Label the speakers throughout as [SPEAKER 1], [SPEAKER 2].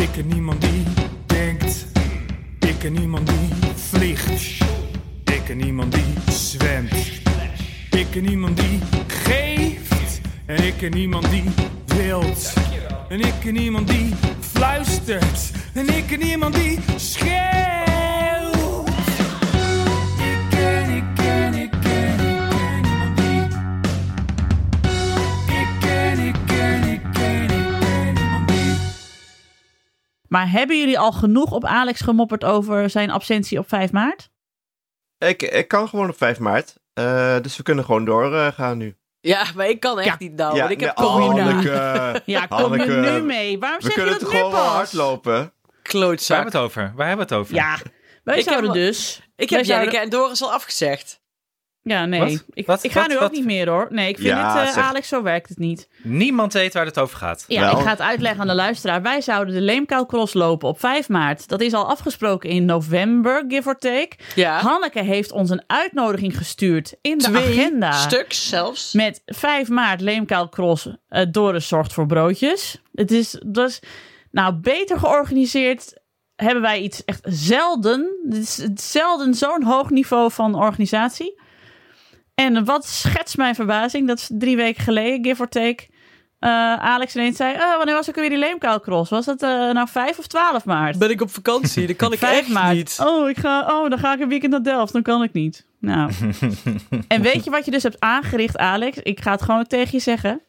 [SPEAKER 1] Ik ken niemand die denkt. Ik ken niemand die vliegt. Ik ken niemand die zwemt. Ik ken niemand die geeft. En ik ken niemand die wilt. En ik ken niemand die fluistert. En ik ken niemand die schreeuwt. Ik ken, ik ken, ik ken, ik ken niemand die. Ik ken, ik ken, ik ken, ik ken niemand die.
[SPEAKER 2] Maar hebben jullie al genoeg op Alex gemopperd over zijn absentie op 5 maart?
[SPEAKER 3] Ik, ik kan gewoon op 5 maart. Eh, dus we kunnen gewoon doorgaan gaan nu.
[SPEAKER 4] Ja, maar ik kan echt
[SPEAKER 2] Ja.
[SPEAKER 4] niet nou, Oh, want ik
[SPEAKER 3] nee,
[SPEAKER 4] heb
[SPEAKER 3] oh,
[SPEAKER 4] corona.
[SPEAKER 3] Hanneke.
[SPEAKER 2] Ja, kom
[SPEAKER 3] Hanneke,
[SPEAKER 2] je nu mee? Waarom
[SPEAKER 3] eh, We
[SPEAKER 2] zeg je
[SPEAKER 3] kunnen
[SPEAKER 2] dat
[SPEAKER 3] het
[SPEAKER 2] nu
[SPEAKER 3] gewoon
[SPEAKER 2] pas?
[SPEAKER 3] hardlopen.
[SPEAKER 5] Waar
[SPEAKER 4] Klootzak.
[SPEAKER 5] hebben we het over? Waar hebben we het over?
[SPEAKER 2] Ja, wij
[SPEAKER 4] Ik
[SPEAKER 2] zouden
[SPEAKER 4] heb wel-
[SPEAKER 2] dus...
[SPEAKER 4] Ik
[SPEAKER 2] wij
[SPEAKER 4] heb
[SPEAKER 2] zouden-
[SPEAKER 4] Janneke en Doris al afgezegd.
[SPEAKER 2] Ja, nee.
[SPEAKER 5] Wat?
[SPEAKER 2] Ik,
[SPEAKER 5] Wat?
[SPEAKER 2] ik ga
[SPEAKER 5] Wat?
[SPEAKER 2] nu ook
[SPEAKER 5] Wat?
[SPEAKER 2] niet meer hoor. Nee, ik vind
[SPEAKER 3] Ja,
[SPEAKER 2] het, eh,
[SPEAKER 3] zeg.
[SPEAKER 2] Alex, zo werkt het niet.
[SPEAKER 5] Niemand weet waar het over gaat.
[SPEAKER 2] Ja,
[SPEAKER 3] Wel.
[SPEAKER 2] ik ga het uitleggen aan de luisteraar. Wij zouden de Leemkou Cross lopen op 5 maart. Dat is al afgesproken in november, give or take.
[SPEAKER 4] Ja.
[SPEAKER 2] Hanneke heeft ons een uitnodiging gestuurd in de
[SPEAKER 4] Twee
[SPEAKER 2] agenda.
[SPEAKER 4] stuks zelfs.
[SPEAKER 2] Met 5 maart Leemkuil Cross eh, Doris zorgt voor broodjes. Het is, dat is nou beter georganiseerd. Hebben wij iets echt zelden. Het is zelden zo'n hoog niveau van organisatie. En wat schetst mijn verbazing dat ze drie weken geleden, give or take, eh, Alex ineens zei: "Eh, Wanneer was ook weer die Leemkuil Cross? Was dat eh, nou 5 of 12 maart?
[SPEAKER 4] Ben ik op vakantie, dat kan ik
[SPEAKER 2] 5
[SPEAKER 4] echt
[SPEAKER 2] maart.
[SPEAKER 4] niet.
[SPEAKER 2] Oh, ik ga, oh, dan ga ik een weekend naar Delft. Dan kan ik niet. Nou. en weet je wat je dus hebt aangericht, Alex? Ik ga het gewoon tegen je zeggen.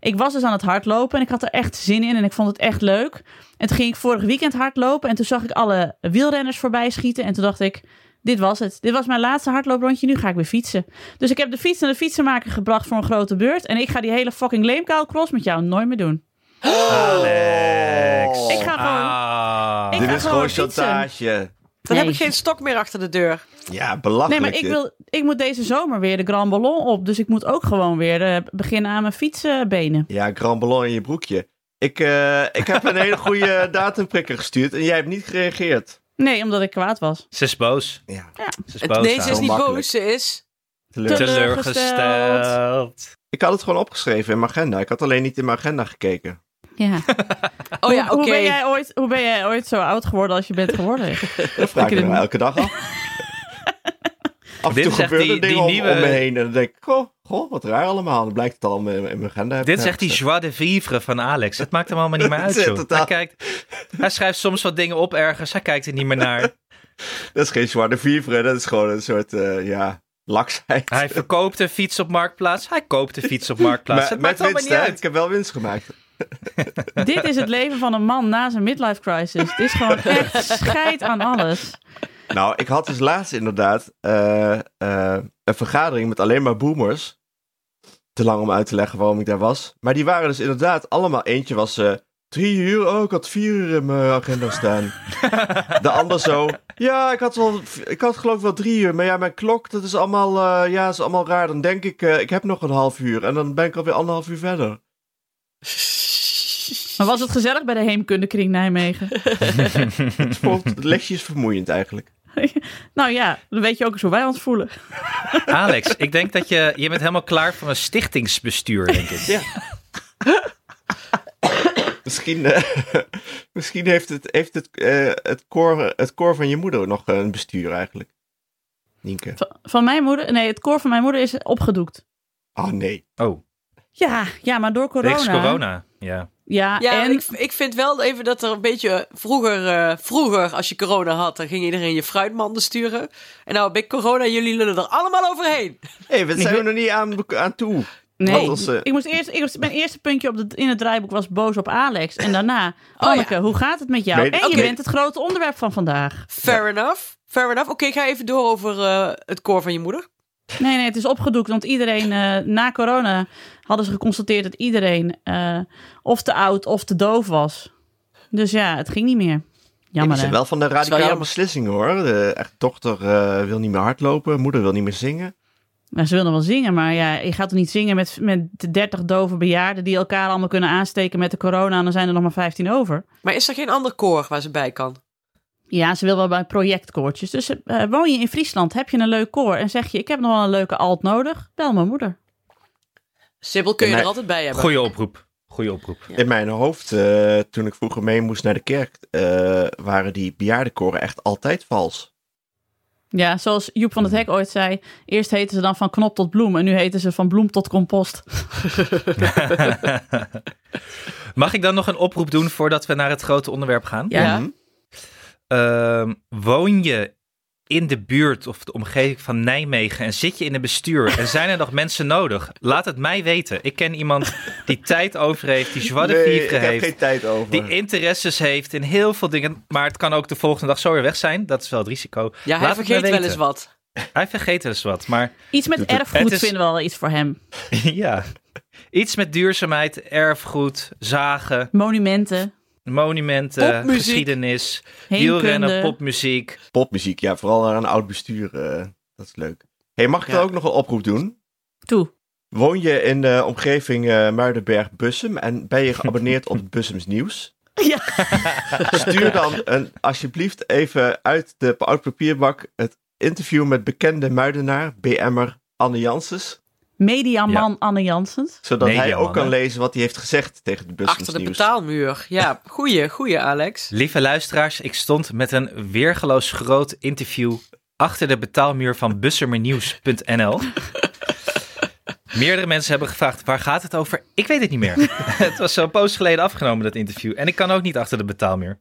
[SPEAKER 2] Ik was dus aan het hardlopen en ik had er echt zin in en ik vond het echt leuk. En toen ging ik vorig weekend hardlopen en toen zag ik alle wielrenners voorbij schieten. En toen dacht ik, dit was het. Dit was mijn laatste hardlooprondje, nu ga ik weer fietsen. Dus ik heb de fiets naar de fietsenmaker gebracht voor een grote beurt. En ik ga die hele fucking leemkuil cross met jou nooit meer doen.
[SPEAKER 4] Oh.
[SPEAKER 3] Alex.
[SPEAKER 2] Ik ga gewoon...
[SPEAKER 5] Ah.
[SPEAKER 2] Ik
[SPEAKER 3] Dit
[SPEAKER 2] ga
[SPEAKER 3] is
[SPEAKER 2] gewoon
[SPEAKER 3] gewoon
[SPEAKER 2] fietsen.
[SPEAKER 3] chantage.
[SPEAKER 4] Dan heb
[SPEAKER 2] Nee.
[SPEAKER 4] ik geen stok meer achter de deur.
[SPEAKER 3] Ja,
[SPEAKER 2] Nee,
[SPEAKER 3] belachelijk.
[SPEAKER 2] maar ik,
[SPEAKER 3] dit.
[SPEAKER 2] wil, ik moet deze zomer weer de Grand Ballon op. Dus ik moet ook gewoon weer eh, beginnen aan mijn fietsbenen.
[SPEAKER 3] Ja, Grand Ballon in je broekje. Ik, eh, ik heb een hele goede datumprikker gestuurd en jij hebt niet gereageerd.
[SPEAKER 2] Nee, omdat ik kwaad was.
[SPEAKER 5] Ze is boos.
[SPEAKER 3] Ja,
[SPEAKER 5] Ze is
[SPEAKER 4] Het-
[SPEAKER 5] boos.
[SPEAKER 4] nee, ze is
[SPEAKER 5] Saal.
[SPEAKER 4] niet
[SPEAKER 3] makkelijk.
[SPEAKER 4] boos, ze is...
[SPEAKER 3] teleurgesteld.
[SPEAKER 5] teleurgesteld.
[SPEAKER 3] Ik had het gewoon opgeschreven in mijn agenda. Ik had alleen niet in mijn agenda gekeken.
[SPEAKER 2] Ja.
[SPEAKER 4] Oh ja,
[SPEAKER 2] hoe,
[SPEAKER 4] oké.
[SPEAKER 2] ben jij ooit, hoe ben jij ooit zo oud geworden als je bent geworden?
[SPEAKER 3] Dat vraag ik
[SPEAKER 2] je
[SPEAKER 3] me
[SPEAKER 2] dit-
[SPEAKER 3] elke dag af. af en
[SPEAKER 5] Dit
[SPEAKER 3] toe
[SPEAKER 5] is echt
[SPEAKER 3] gebeuren
[SPEAKER 5] die-
[SPEAKER 3] dingen
[SPEAKER 5] die
[SPEAKER 3] om,
[SPEAKER 5] nieuwe-
[SPEAKER 3] om me heen. En dan denk ik, goh, goh wat raar allemaal. Dan blijkt het al in mijn in mijn agenda.
[SPEAKER 5] Dit is echt die joie de vivre van Alex. Het maakt hem allemaal niet meer uit, joh.
[SPEAKER 3] Totaal.
[SPEAKER 5] Hij, kijkt, hij schrijft soms wat dingen op ergens. Hij kijkt er niet meer naar.
[SPEAKER 3] Dat is geen zwarte vivre. Dat is gewoon een soort, eh, ja, laksheid.
[SPEAKER 5] Hij verkoopt een fiets op Marktplaats. Hij koopt een fiets op Marktplaats.
[SPEAKER 3] Maar-
[SPEAKER 5] het
[SPEAKER 3] met
[SPEAKER 5] maakt allemaal
[SPEAKER 3] winst,
[SPEAKER 5] niet
[SPEAKER 3] hè?
[SPEAKER 5] uit.
[SPEAKER 3] Ik heb wel winst gemaakt.
[SPEAKER 2] Dit is het leven van een man na zijn midlife crisis. Het is gewoon echt scheid aan alles.
[SPEAKER 3] Nou, ik had dus laatst inderdaad eh, eh, een vergadering met alleen maar boomers. Te lang om uit te leggen waarom ik daar was. Maar die waren dus inderdaad allemaal. Eentje was eh, drie uur. Oh, ik had vier uur in mijn agenda staan. De ander zo. Ja, ik had, wel, ik had geloof ik wel drie uur. Maar ja, mijn klok, dat is allemaal, eh, ja, is allemaal raar. Dan denk ik, eh, ik heb nog een half uur. En dan ben ik alweer anderhalf uur verder.
[SPEAKER 2] Maar was het gezellig bij de Heemkundekring Nijmegen?
[SPEAKER 3] Het, voelt, het lesje is vermoeiend eigenlijk.
[SPEAKER 2] nou ja, dan weet je ook eens hoe wij ons voelen.
[SPEAKER 5] Alex, ik denk dat je... Je bent helemaal klaar voor een stichtingsbestuur, denk ik.
[SPEAKER 3] Misschien, eh, misschien heeft, het, heeft het, eh, het, koor, het koor van je moeder nog eh, een bestuur eigenlijk. Nienke.
[SPEAKER 2] Van, van mijn moeder, nee, het koor van mijn moeder is opgedoekt.
[SPEAKER 3] Ah nee.
[SPEAKER 5] Oh,
[SPEAKER 2] Ja, ja, maar door corona.
[SPEAKER 5] wegens corona. Ja.
[SPEAKER 2] Ja,
[SPEAKER 4] Ja,
[SPEAKER 2] en
[SPEAKER 4] ik, ik vind wel even dat er een beetje eh, vroeger, eh, vroeger als je corona had, dan ging iedereen je fruitmanden sturen. En nou bij corona, jullie lullen er allemaal overheen.
[SPEAKER 3] Hé, hey, we zijn er nog niet aan, aan toe.
[SPEAKER 2] Nee,
[SPEAKER 3] Wat was, eh,
[SPEAKER 2] ik moest eerst, ik was, mijn eerste puntje op de, in het draaiboek was boos op Alex. En daarna, Anneke, hoe gaat het met jou?
[SPEAKER 3] Oh Nee,
[SPEAKER 2] en
[SPEAKER 3] oké.
[SPEAKER 2] je bent het grote onderwerp van vandaag.
[SPEAKER 4] Fair enough. Fair enough. Oké, ga even door over eh, het koor van je moeder.
[SPEAKER 2] Nee, nee, het is opgedoekt. Want iedereen, eh, na corona hadden ze geconstateerd dat iedereen eh, of te oud of te doof was. Dus ja, het ging niet meer. Jammer
[SPEAKER 3] Die
[SPEAKER 2] hè?
[SPEAKER 3] zijn wel van de radicale
[SPEAKER 4] jammer.
[SPEAKER 3] beslissingen hoor. De echt, dochter eh, wil niet meer hardlopen, moeder wil niet meer zingen.
[SPEAKER 2] Nou, ze wilden wel zingen, maar ja, je gaat toch niet zingen met, met de 30 dove bejaarden die elkaar allemaal kunnen aansteken met de corona. En dan zijn er nog maar 15 over.
[SPEAKER 4] Maar is er geen ander koor waar ze bij kan?
[SPEAKER 2] Ja, ze wil wel bij projectkoortjes. Dus eh, woon je in Friesland, heb je een leuk koor en zeg je: Ik heb nog wel een leuke alt nodig, bel mijn moeder.
[SPEAKER 4] Sibyl kun je
[SPEAKER 3] Nee.
[SPEAKER 4] er altijd bij hebben.
[SPEAKER 5] Goeie oproep. Goeie oproep.
[SPEAKER 4] Ja.
[SPEAKER 3] In mijn hoofd, eh, toen ik vroeger mee moest naar de kerk, eh, waren die bejaardenkoren echt altijd vals.
[SPEAKER 2] Ja, zoals Joep van het Hek ooit zei. Eerst heten ze dan van knop tot bloem. En nu heten ze van bloem tot compost.
[SPEAKER 5] Mag ik dan nog een oproep doen voordat we naar het grote onderwerp gaan?
[SPEAKER 2] Ja.
[SPEAKER 3] Mhm.
[SPEAKER 5] Ehm, woon je in de buurt of de omgeving van Nijmegen en zit je in een bestuur en zijn er nog mensen nodig? Laat het mij weten. Ik ken iemand die tijd over heeft, die joie de
[SPEAKER 3] Nee, ik
[SPEAKER 5] vivre
[SPEAKER 3] heb
[SPEAKER 5] heeft,
[SPEAKER 3] geen tijd over.
[SPEAKER 5] die interesses heeft in heel veel dingen, maar het kan ook de volgende dag zo weer weg zijn. Dat is wel het risico.
[SPEAKER 4] Ja, hij
[SPEAKER 5] Laat het mij
[SPEAKER 4] vergeet wel
[SPEAKER 5] weten.
[SPEAKER 4] eens wat.
[SPEAKER 5] Hij vergeet wel eens wat, maar
[SPEAKER 2] Iets met
[SPEAKER 3] Doet het-
[SPEAKER 2] erfgoed
[SPEAKER 5] het is-
[SPEAKER 2] vinden we wel iets voor hem.
[SPEAKER 5] ja. Iets met duurzaamheid, erfgoed, zagen,
[SPEAKER 2] Monumenten,
[SPEAKER 5] monumenten,
[SPEAKER 4] Popmuziek.
[SPEAKER 5] geschiedenis, wielrennen,
[SPEAKER 2] heenkunde.
[SPEAKER 5] popmuziek.
[SPEAKER 3] Popmuziek, ja, vooral naar een oud bestuur. eh, dat is leuk. hey, mag ik
[SPEAKER 4] Ja.
[SPEAKER 3] dan ook nog een oproep doen?
[SPEAKER 2] Toe.
[SPEAKER 3] Woon je in de omgeving eh, Muidenberg-Bussum en ben je geabonneerd op het Bussums Nieuws?
[SPEAKER 2] Ja.
[SPEAKER 3] Stuur dan een, alsjeblieft even uit de oud papierbak het interview met bekende Muidenaar, BM'er Anne Janssens.
[SPEAKER 2] Mediaman Anne Janssens.
[SPEAKER 3] Zodat hij
[SPEAKER 5] Mediaman,
[SPEAKER 3] ook kan
[SPEAKER 5] hè?
[SPEAKER 3] lezen wat hij heeft gezegd tegen het Bussums
[SPEAKER 4] Achter de
[SPEAKER 3] Nieuws.
[SPEAKER 4] betaalmuur. Ja, goeie, goeie Alex.
[SPEAKER 5] Lieve luisteraars, ik stond met een weergeloos groot interview achter de betaalmuur van bussermenieuws.nl. Meerdere mensen hebben gevraagd, waar gaat het over? Ik weet het niet meer. het was zo'n poos geleden afgenomen, dat interview. En ik kan ook niet achter de betaalmuur.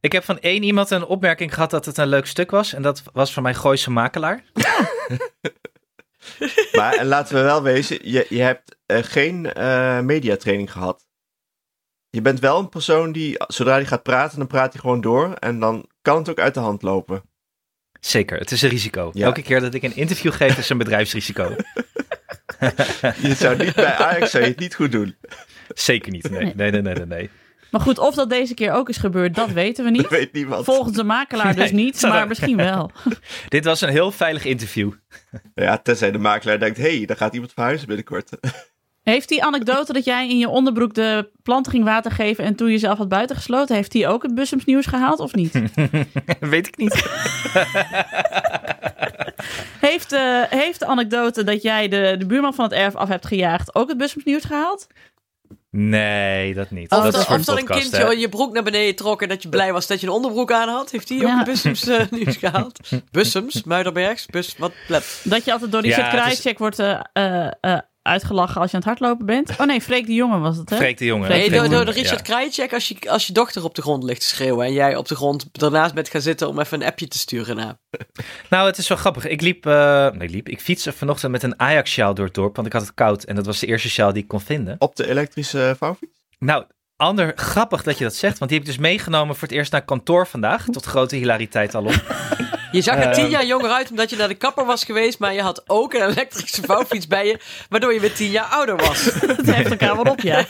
[SPEAKER 5] Ik heb van één iemand een opmerking gehad dat het een leuk stuk was. En dat was van mijn Gooise makelaar.
[SPEAKER 3] Maar en laten we wel wezen, je, je hebt eh, geen eh, mediatraining gehad. Je bent wel een persoon die, zodra hij gaat praten, dan praat hij gewoon door. En dan kan het ook uit de hand lopen.
[SPEAKER 5] Zeker, het is een risico.
[SPEAKER 3] Ja.
[SPEAKER 5] Elke keer dat ik een interview geef, is een bedrijfsrisico.
[SPEAKER 3] Je zou niet bij Ajax zou je het niet goed doen.
[SPEAKER 5] Zeker niet. Nee, nee, nee, nee, nee. nee.
[SPEAKER 2] Maar goed, of dat deze keer ook is gebeurd, dat weten we
[SPEAKER 3] Dat
[SPEAKER 2] niet.
[SPEAKER 3] weet niemand.
[SPEAKER 2] Volgens de makelaar dus
[SPEAKER 5] Nee,
[SPEAKER 2] niet,
[SPEAKER 5] zou
[SPEAKER 2] maar
[SPEAKER 5] dat-
[SPEAKER 2] misschien wel.
[SPEAKER 5] Dit was een heel veilig interview.
[SPEAKER 3] Ja, tenzij de makelaar denkt, hé, hey, daar gaat iemand verhuizen binnenkort.
[SPEAKER 2] Heeft die anekdote dat jij in je onderbroek de planten ging water geven en toen jezelf had buitengesloten, heeft die ook het Bussums nieuws gehaald of niet?
[SPEAKER 5] Weet ik niet.
[SPEAKER 2] Heeft, eh, heeft de anekdote dat jij de, de buurman van het erf af hebt gejaagd ook het Bussums nieuws gehaald?
[SPEAKER 5] Nee, dat niet.
[SPEAKER 4] Of
[SPEAKER 5] dat
[SPEAKER 4] dat,
[SPEAKER 5] is voor
[SPEAKER 4] of
[SPEAKER 5] de
[SPEAKER 4] dat een
[SPEAKER 5] podcast,
[SPEAKER 4] kindje
[SPEAKER 5] hè?
[SPEAKER 4] je broek naar beneden trok en dat je blij was dat je een onderbroek aan had. Heeft hij ook
[SPEAKER 2] Ja.
[SPEAKER 4] een Bussums eh, nieuws gehaald? Bussums, Muiderbergs, Bus, wat let.
[SPEAKER 2] Dat je altijd door die
[SPEAKER 5] Ja,
[SPEAKER 2] ja,
[SPEAKER 5] het is-
[SPEAKER 2] wordt eh, eh, eh, uitgelachen als je aan het hardlopen bent? Oh nee, Freek de Jonge was het hè?
[SPEAKER 5] Freek de jongen.
[SPEAKER 2] Nee,
[SPEAKER 4] Nee,
[SPEAKER 5] Freek
[SPEAKER 4] door, door de
[SPEAKER 5] Jonge,
[SPEAKER 4] Richard Krajicek als je, als je dochter op de grond ligt te schreeuwen en jij op de grond daarnaast bent gaan zitten om even een appje te sturen naar.
[SPEAKER 5] ja. Nou, het is wel grappig. Ik liep, eh, nee, ik liep, ik fietste vanochtend met een Ajax-sjaal door het dorp, want ik had het koud en dat was de eerste sjaal die ik kon vinden.
[SPEAKER 3] Op de elektrische eh, vouwfiets?
[SPEAKER 5] Nou, ander grappig dat je dat zegt, want die heb ik dus meegenomen voor het eerst naar kantoor vandaag, tot grote hilariteit alom.
[SPEAKER 4] Je zag er tien jaar jonger uit omdat je naar de kapper was geweest, maar je had ook een elektrische vouwfiets bij je, waardoor je weer tien jaar ouder was.
[SPEAKER 2] Het heft elkaar wel op, ja.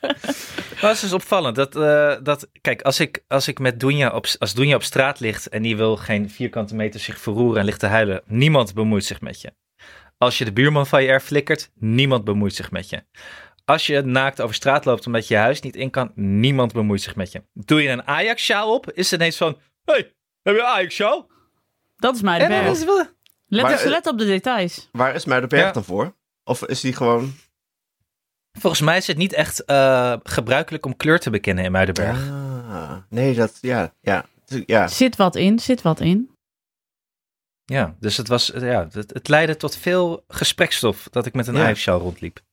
[SPEAKER 5] Maar het is dus opvallend dat, eh, dat kijk, als ik, als ik met Doenja op, als Doenja op straat ligt en die wil geen vierkante meter zich verroeren en ligt te huilen, niemand bemoeit zich met je. Als je de buurman van je erf flikkert, niemand bemoeit zich met je. Als je naakt over straat loopt omdat je je huis niet in kan, niemand bemoeit zich met je. Doe je een Ajax-sjaal op, is het ineens van, hey, heb je een Ajax-sjaal?
[SPEAKER 2] Dat is mij de
[SPEAKER 5] En dan
[SPEAKER 2] berg.
[SPEAKER 5] is het wel...
[SPEAKER 2] Let,
[SPEAKER 3] Maar,
[SPEAKER 2] dus-
[SPEAKER 3] eh,
[SPEAKER 2] let op de details.
[SPEAKER 3] Waar is Muidenberg
[SPEAKER 5] Ja.
[SPEAKER 3] dan voor? Of is die gewoon...
[SPEAKER 5] Volgens mij is het niet echt eh, gebruikelijk om kleur te bekennen in Muidenberg.
[SPEAKER 3] Ah, nee, dat... Ja, ja. Ja,
[SPEAKER 2] Zit wat in, zit wat in.
[SPEAKER 5] Ja, dus het, was, ja, het, het leidde tot veel gesprekstof dat ik met een
[SPEAKER 3] Ja.
[SPEAKER 5] Ajax-sjaal rondliep.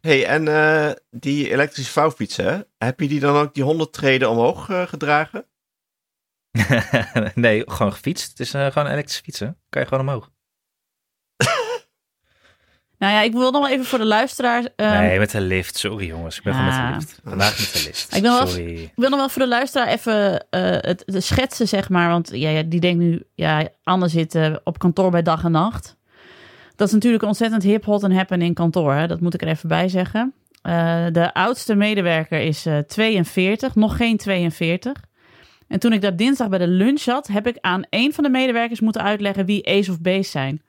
[SPEAKER 3] Hey, en eh, die elektrische vouwfiets, hè? Heb je die dan ook die 100 treden omhoog eh, gedragen?
[SPEAKER 5] nee, gewoon gefietst. Het is eh, gewoon elektrisch fietsen. Kan je gewoon omhoog.
[SPEAKER 2] Nou ja, ik wil nog wel even voor de luisteraars. ehm,
[SPEAKER 5] nee, met de lift. Sorry jongens, ik ben gewoon
[SPEAKER 2] Ah.
[SPEAKER 5] met de lift. Vandaag met de lift.
[SPEAKER 2] Ik ben wel-
[SPEAKER 5] Sorry.
[SPEAKER 2] Ik wil nog wel voor de luisteraar even eh, het, het schetsen, zeg maar. Want ja, ja, die denkt nu, ja, Anne zit eh, op kantoor bij dag en nacht. Dat is natuurlijk ontzettend hip, hot en happen in kantoor. Hè? Dat moet ik er even bij zeggen. Eh, de oudste medewerker is eh, 42, nog geen 42. En toen ik daar dinsdag bij de lunch zat, heb ik aan een van de medewerkers moeten uitleggen wie Ace of Base zijn.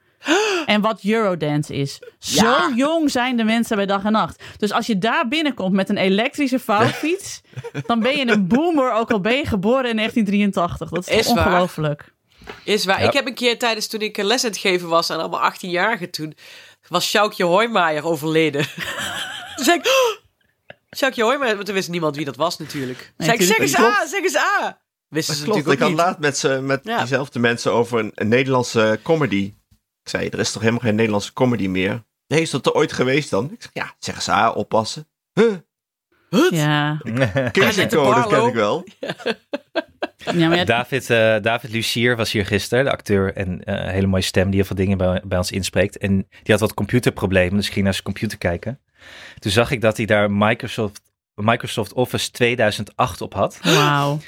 [SPEAKER 2] En wat Eurodance is. Zo
[SPEAKER 4] Ja.
[SPEAKER 2] jong zijn de mensen bij dag en nacht. Dus als je daar binnenkomt met een elektrische vouwfiets, dan ben je een boomer, ook al ben je geboren in 1983. Dat is,
[SPEAKER 4] Is
[SPEAKER 2] toch
[SPEAKER 4] waar.
[SPEAKER 2] ongelooflijk.
[SPEAKER 4] Is waar.
[SPEAKER 5] Ja.
[SPEAKER 4] Ik heb een keer tijdens toen ik les aan het geven was aan allemaal 18-jarigen toen, was Sjoukje Hoijmaier overleden. Toen zei ik, "Oh, Jacques Joy, maar toen wist niemand wie dat was natuurlijk.
[SPEAKER 2] Nee,
[SPEAKER 4] Zeg ik, zeg
[SPEAKER 2] natuurlijk
[SPEAKER 4] eens
[SPEAKER 3] niet.
[SPEAKER 4] A, zeg eens A. Wisten
[SPEAKER 3] Dat
[SPEAKER 4] ze
[SPEAKER 3] klopt. Ik
[SPEAKER 4] natuurlijk
[SPEAKER 3] had
[SPEAKER 4] ook niet.
[SPEAKER 3] laat met, ze, met
[SPEAKER 4] Ja.
[SPEAKER 3] diezelfde mensen over een, een Nederlandse comedy. Ik zei, er is toch helemaal geen Nederlandse comedy meer? Nee, is dat er ooit geweest dan? Ik zeg, ja, zeg ze, ah, oppassen. Huh,
[SPEAKER 4] Hut?
[SPEAKER 2] Ja.
[SPEAKER 3] Casey
[SPEAKER 4] David
[SPEAKER 3] Code, dat ken
[SPEAKER 4] Barlow.
[SPEAKER 3] ik wel.
[SPEAKER 2] ja, maar ja,
[SPEAKER 5] David, eh, David Lucier was hier gisteren, de acteur en eh, een hele mooie stem die heel veel dingen bij, bij ons inspreekt. En die had wat computerproblemen, dus ik ging naar zijn computer kijken. Toen zag ik dat hij daar Microsoft, Microsoft Office 2008 op had.
[SPEAKER 2] wauw.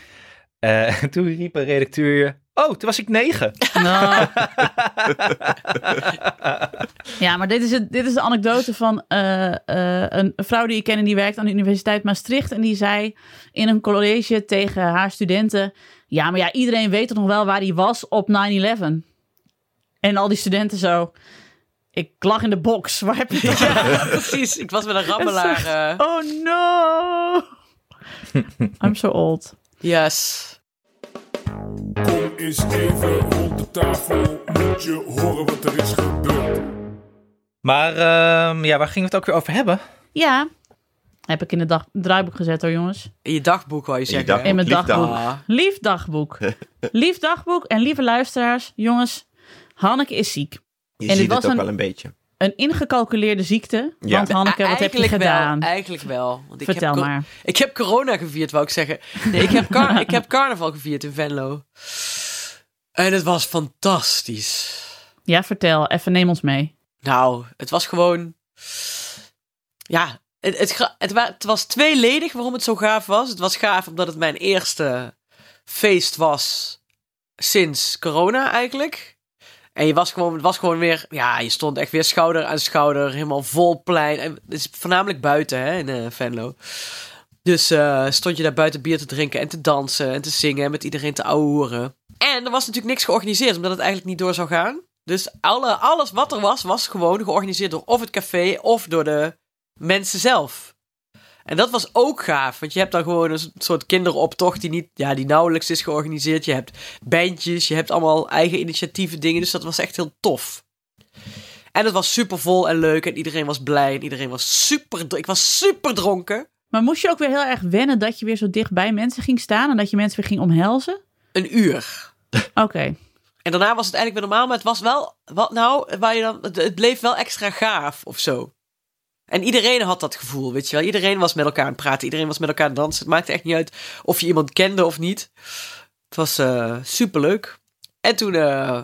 [SPEAKER 5] Eh, en toen riep een redacteur, oh, toen was ik negen.
[SPEAKER 2] Nou. ja, maar dit is, het, dit is de anekdote van eh, eh, een vrouw die ik ken en die werkt aan de Universiteit Maastricht. En die zei in een college tegen haar studenten: Ja, maar ja, iedereen weet toch nog wel waar hij was op 9-11. En al die studenten zo. Ik lag in de box. Waar heb je dat?
[SPEAKER 4] Ja, precies. Ik was met een rammelaar.
[SPEAKER 2] Het
[SPEAKER 4] eh.
[SPEAKER 2] Oh no! I'm so old.
[SPEAKER 4] Yes.
[SPEAKER 1] Kom eens even rond de tafel, moet je horen wat er is gebeurd.
[SPEAKER 5] Maar ehm, ja, waar gingen we het ook weer over hebben?
[SPEAKER 2] Ja, heb ik in het dag, draaiboek gezet hoor, jongens.
[SPEAKER 4] In je dagboek wou je
[SPEAKER 3] In je
[SPEAKER 4] zeggen.
[SPEAKER 3] dagboek,
[SPEAKER 2] In mijn
[SPEAKER 3] liefdagboek.
[SPEAKER 2] dagboek.
[SPEAKER 4] Ah.
[SPEAKER 2] Lief dagboek. Lief dagboek en lieve luisteraars. Jongens, Hanneke is ziek.
[SPEAKER 3] Je
[SPEAKER 2] dit
[SPEAKER 3] ziet
[SPEAKER 2] was
[SPEAKER 3] het ook
[SPEAKER 2] een-
[SPEAKER 3] wel een beetje.
[SPEAKER 2] Een ingecalculeerde ziekte.
[SPEAKER 3] Ja.
[SPEAKER 2] Want Hanneke, wat heb je
[SPEAKER 4] Eigenlijk
[SPEAKER 2] gedaan?
[SPEAKER 4] Wel, eigenlijk wel. Want ik
[SPEAKER 2] Vertel
[SPEAKER 4] heb co-
[SPEAKER 2] maar.
[SPEAKER 4] Ik heb corona gevierd, wou ik zeggen. Nee, ik heb, car- ik heb carnaval gevierd in Venlo. En het was fantastisch.
[SPEAKER 2] Ja, vertel. Even neem ons mee.
[SPEAKER 4] Nou, het was gewoon... Ja, het, het, gra- het, wa- het was tweeledig waarom het zo gaaf was. Het was gaaf omdat het mijn eerste feest was sinds corona eigenlijk. En je was gewoon, het was gewoon weer... Ja, je stond echt weer schouder aan schouder. Helemaal vol plein. En het is voornamelijk buiten hè, in eh, Venlo. Dus eh, stond je daar buiten bier te drinken en te dansen en te zingen en met iedereen te ouwehoeren. En er was natuurlijk niks georganiseerd, omdat het eigenlijk niet door zou gaan. Dus alle, alles wat er was, was gewoon georganiseerd door of het café of door de mensen zelf. En dat was ook gaaf, want je hebt dan gewoon een s- soort kinderoptocht die, niet, ja, die nauwelijks is georganiseerd. Je hebt bandjes, je hebt allemaal eigen initiatieven dingen, dus dat was echt heel tof. En het was super vol en leuk en iedereen was blij en iedereen was super... dr- Ik was super dronken.
[SPEAKER 2] Maar moest je ook weer heel erg wennen dat je weer zo dicht bij mensen ging staan en dat je mensen weer ging omhelzen?
[SPEAKER 4] Een uur.
[SPEAKER 2] Oké.
[SPEAKER 4] En daarna was het eigenlijk weer normaal, maar het was wel, wat nou, waar je dan, het, het bleef wel extra gaaf of zo. En iedereen had dat gevoel, weet je wel. Iedereen was met elkaar aan het praten, iedereen was met elkaar aan het dansen. Het maakte echt niet uit of je iemand kende of niet. Het was eh superleuk. En toen, eh,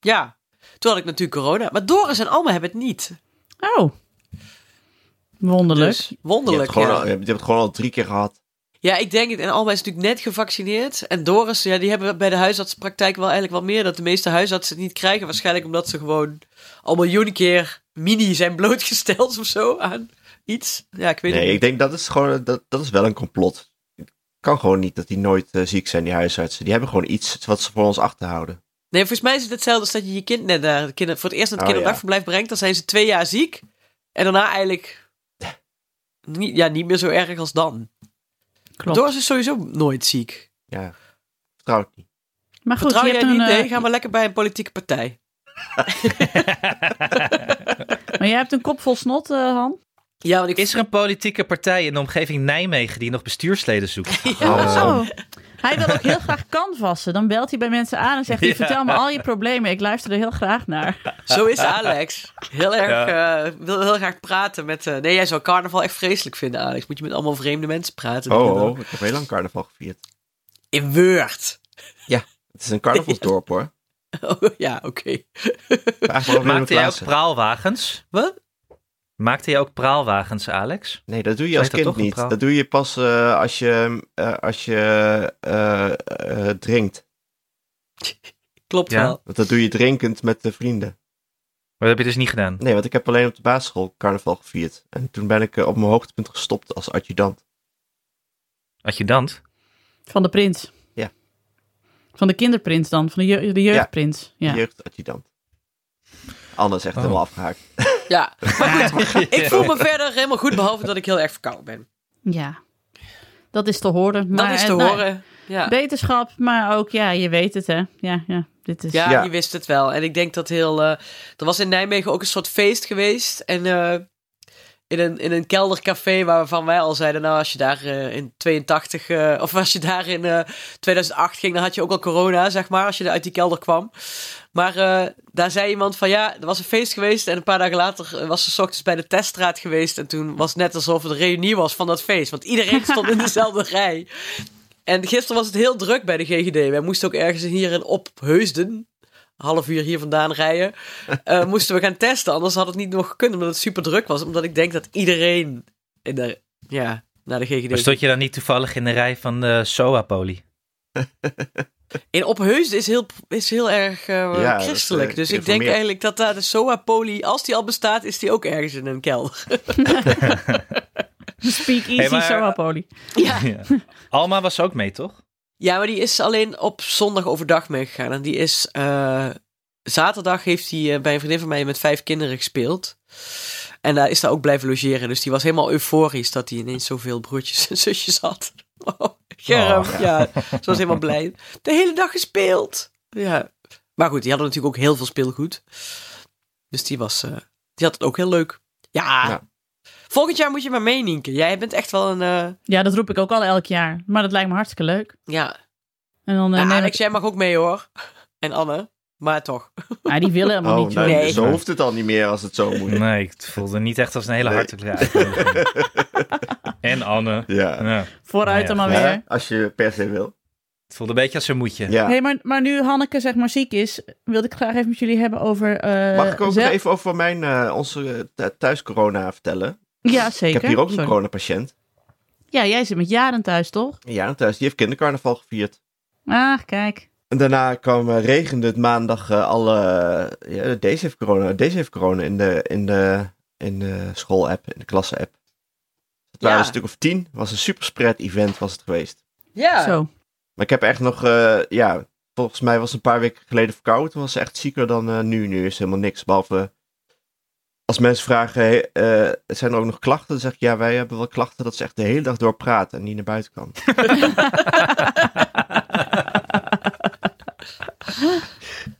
[SPEAKER 4] ja, toen had ik natuurlijk corona. Maar Doris en Alma hebben het niet.
[SPEAKER 2] Oh. Wonderlijk.
[SPEAKER 4] Dus
[SPEAKER 3] Je hebt,
[SPEAKER 4] wonderlijk,
[SPEAKER 3] gewoon
[SPEAKER 4] ja.
[SPEAKER 3] al, je hebt het gewoon al drie keer gehad.
[SPEAKER 4] Ja, ik denk het. En Alma is natuurlijk net gevaccineerd. En Doris, ja, die hebben bij de huisartsenpraktijk wel eigenlijk wel meer. Dat de meeste huisartsen het niet krijgen. Waarschijnlijk omdat ze gewoon al miljoen keer mini zijn blootgesteld of zo aan iets. Ja, ik weet het
[SPEAKER 3] Nee,
[SPEAKER 4] niet.
[SPEAKER 3] ik denk dat is gewoon, dat, dat is wel een complot. Het kan gewoon niet dat die nooit eh, ziek zijn, die huisartsen. Die hebben gewoon iets wat ze voor ons achterhouden.
[SPEAKER 4] Nee, volgens mij is het hetzelfde als dat je je kind net naar het kinder, voor het eerst naar het
[SPEAKER 3] Oh,
[SPEAKER 4] kinderdagverblijf brengt. Dan zijn ze twee jaar ziek. En daarna eigenlijk niet, ja, niet meer zo erg als dan.
[SPEAKER 2] Klopt.
[SPEAKER 4] Doris is sowieso nooit ziek.
[SPEAKER 3] Ja, vertrouw het niet.
[SPEAKER 2] maar goed,
[SPEAKER 4] Vertrouw
[SPEAKER 2] je
[SPEAKER 4] jij
[SPEAKER 2] hebt
[SPEAKER 4] niet?
[SPEAKER 2] een, eh,
[SPEAKER 4] Nee, ga maar lekker bij een politieke partij.
[SPEAKER 2] maar jij hebt een kop vol snot, eh, Han.
[SPEAKER 4] Ja, want ik
[SPEAKER 5] Is er een politieke partij in de omgeving Nijmegen die nog bestuursleden zoekt?
[SPEAKER 3] Oh.
[SPEAKER 2] Oh. Hij wil ook heel graag canvassen. Dan belt hij bij mensen aan en zegt hij:
[SPEAKER 5] Ja.
[SPEAKER 2] Vertel me al je problemen. Ik luister er heel graag naar.
[SPEAKER 4] Zo is Alex. Heel erg, eh, wil heel graag praten met... eh, nee, jij zou carnaval echt vreselijk vinden, Alex. Moet je met allemaal vreemde mensen praten.
[SPEAKER 3] Oh, oh, ik heb heel lang carnaval gevierd.
[SPEAKER 4] In Word.
[SPEAKER 3] Het is een carnavalsdorp hoor.
[SPEAKER 4] Oh, ja, oké.
[SPEAKER 3] Vraag maar of Willem
[SPEAKER 5] Maakte jij ook
[SPEAKER 3] Klaassen.
[SPEAKER 5] praalwagens?
[SPEAKER 4] Wat?
[SPEAKER 5] Maakte jij ook praalwagens, Alex?
[SPEAKER 3] Nee, dat doe je
[SPEAKER 5] Zo
[SPEAKER 3] als
[SPEAKER 5] heet
[SPEAKER 3] kind
[SPEAKER 5] dat toch, een
[SPEAKER 3] niet.
[SPEAKER 5] praal?
[SPEAKER 3] Dat doe je pas eh, als je, eh, als je eh, eh, drinkt.
[SPEAKER 4] Klopt
[SPEAKER 5] Ja.
[SPEAKER 4] wel.
[SPEAKER 3] Want dat doe je drinkend met de vrienden.
[SPEAKER 5] Maar dat heb je dus niet gedaan.
[SPEAKER 3] Nee, want ik heb alleen op de basisschool carnaval gevierd. En toen ben ik eh, op mijn hoogtepunt gestopt als adjudant.
[SPEAKER 5] Adjudant?
[SPEAKER 2] Van de prins.
[SPEAKER 3] Ja.
[SPEAKER 2] Van de kinderprins dan, van de, jeugd- de jeugdprins. Ja.
[SPEAKER 3] Jeugdadjudant. Anne is echt
[SPEAKER 5] Oh.
[SPEAKER 3] helemaal afgehaakt.
[SPEAKER 4] Ja. Maar goed, ik voel me verder helemaal goed, behalve dat ik heel erg verkouden ben.
[SPEAKER 2] Ja. Dat is te horen.
[SPEAKER 4] Dat
[SPEAKER 2] maar,
[SPEAKER 4] is
[SPEAKER 2] eh,
[SPEAKER 4] te
[SPEAKER 2] nou,
[SPEAKER 4] horen. Ja.
[SPEAKER 2] Wetenschap, maar ook, ja, je weet het hè. Ja, ja. Dit is...
[SPEAKER 4] Ja,
[SPEAKER 3] Ja.
[SPEAKER 4] je wist het wel. En ik denk dat heel... eh, er was in Nijmegen ook een soort feest geweest. En eh, in een, in een keldercafé waarvan wij al zeiden, nou als je daar eh, in 82, eh, of als je daar in eh, 2008 ging, dan had je ook al corona, zeg maar, als je uit die kelder kwam. Maar eh, daar zei iemand van ja, er was een feest geweest en een paar dagen later eh, was ze 's ochtends bij de teststraat geweest en toen was het net alsof het een reunie was van dat feest, want iedereen stond in dezelfde rij. En gisteren was het heel druk bij de GGD. Wij moesten ook ergens hier in Opheusden, een half uur hier vandaan rijden, eh, moesten we gaan testen. Anders had het niet nog gekund, omdat het super druk was. Omdat ik denk dat iedereen in de, ja, naar de GGD...
[SPEAKER 5] Maar stond je dan niet toevallig in de rij van de Soapoli?
[SPEAKER 4] In Opheusden is heel, is heel erg eh,
[SPEAKER 3] dat is,
[SPEAKER 4] christelijk.
[SPEAKER 3] eh,
[SPEAKER 4] dus ik denk
[SPEAKER 3] geïnformeerd.
[SPEAKER 4] eigenlijk dat daar de SOA-poli, als die al bestaat, is die ook ergens in een kelder.
[SPEAKER 2] Speak easy,
[SPEAKER 5] Hey, maar-
[SPEAKER 2] zo Poli.
[SPEAKER 4] ja.
[SPEAKER 5] Ja. Alma was ook mee, toch?
[SPEAKER 4] ja, maar die is alleen op zondag overdag meegegaan. En die is... eh, zaterdag heeft hij eh, bij een vriendin van mij met vijf kinderen gespeeld. En daar is daar ook blijven logeren. Dus die was helemaal euforisch dat hij ineens zoveel broertjes en zusjes had. Wow, Germ,
[SPEAKER 5] Oh.
[SPEAKER 4] ja. Ze was helemaal blij. De hele dag gespeeld. Ja. Maar goed, die hadden natuurlijk ook heel veel speelgoed. Dus die was... eh, die had het ook heel leuk. Ja.
[SPEAKER 3] Ja.
[SPEAKER 4] Volgend jaar moet je maar mee, Nienke. Jij bent echt wel een... eh,
[SPEAKER 2] Ja, dat roep ik ook al elk jaar. Maar dat lijkt me hartstikke leuk.
[SPEAKER 4] ja.
[SPEAKER 2] En dan eh,
[SPEAKER 4] Ja,
[SPEAKER 2] neem
[SPEAKER 4] Alex,
[SPEAKER 2] ik...
[SPEAKER 4] jij mag ook mee, hoor. En Anne. Maar toch.
[SPEAKER 2] Ah, die willen helemaal
[SPEAKER 3] Oh,
[SPEAKER 2] niet. Dus
[SPEAKER 3] nou,
[SPEAKER 2] joh.
[SPEAKER 4] Nee.
[SPEAKER 3] zo hoeft het al niet meer als het zo moet.
[SPEAKER 5] Nee, ik voelde niet echt als een hele
[SPEAKER 3] Nee.
[SPEAKER 5] hartelijke uitnodiging. En Anne.
[SPEAKER 3] Ja.
[SPEAKER 5] Ja,
[SPEAKER 2] Vooruit dan maar
[SPEAKER 3] Ja,
[SPEAKER 2] weer.
[SPEAKER 3] als je per se wil.
[SPEAKER 5] het voelde een beetje als een moedje.
[SPEAKER 3] Ja.
[SPEAKER 2] Hey, maar, maar nu Hanneke zeg maar ziek is, wilde ik graag even met jullie hebben over... eh,
[SPEAKER 3] Mag ik ook nog
[SPEAKER 2] zelf-
[SPEAKER 3] even over mijn, eh, onze eh, thu- thuis-corona vertellen?
[SPEAKER 2] Ja, zeker.
[SPEAKER 3] Ik heb hier ook een
[SPEAKER 2] Sorry.
[SPEAKER 3] coronapatiënt.
[SPEAKER 2] Ja, jij zit met Jaren thuis, toch?
[SPEAKER 3] Ja, thuis. Die heeft kindercarnaval gevierd.
[SPEAKER 2] Ah, kijk.
[SPEAKER 3] En daarna kwam eh, regende het maandag eh, alle... eh, ja, deze heeft corona, deze heeft corona in de, in de, in de school-app, in de klasse-app. Het
[SPEAKER 4] Ja.
[SPEAKER 3] waren een stuk of tien. was een superspread event was het geweest.
[SPEAKER 4] Ja.
[SPEAKER 2] Zo.
[SPEAKER 3] Maar ik heb echt nog, eh, ja, volgens mij was ze een paar weken geleden verkouden. Toen was ze echt zieker dan eh, nu. Nu is helemaal niks. Behalve als mensen vragen, hé, eh, zijn er ook nog klachten? Dan zeg ik, ja, wij hebben wel klachten dat ze echt de hele dag door praat en niet naar buiten kan.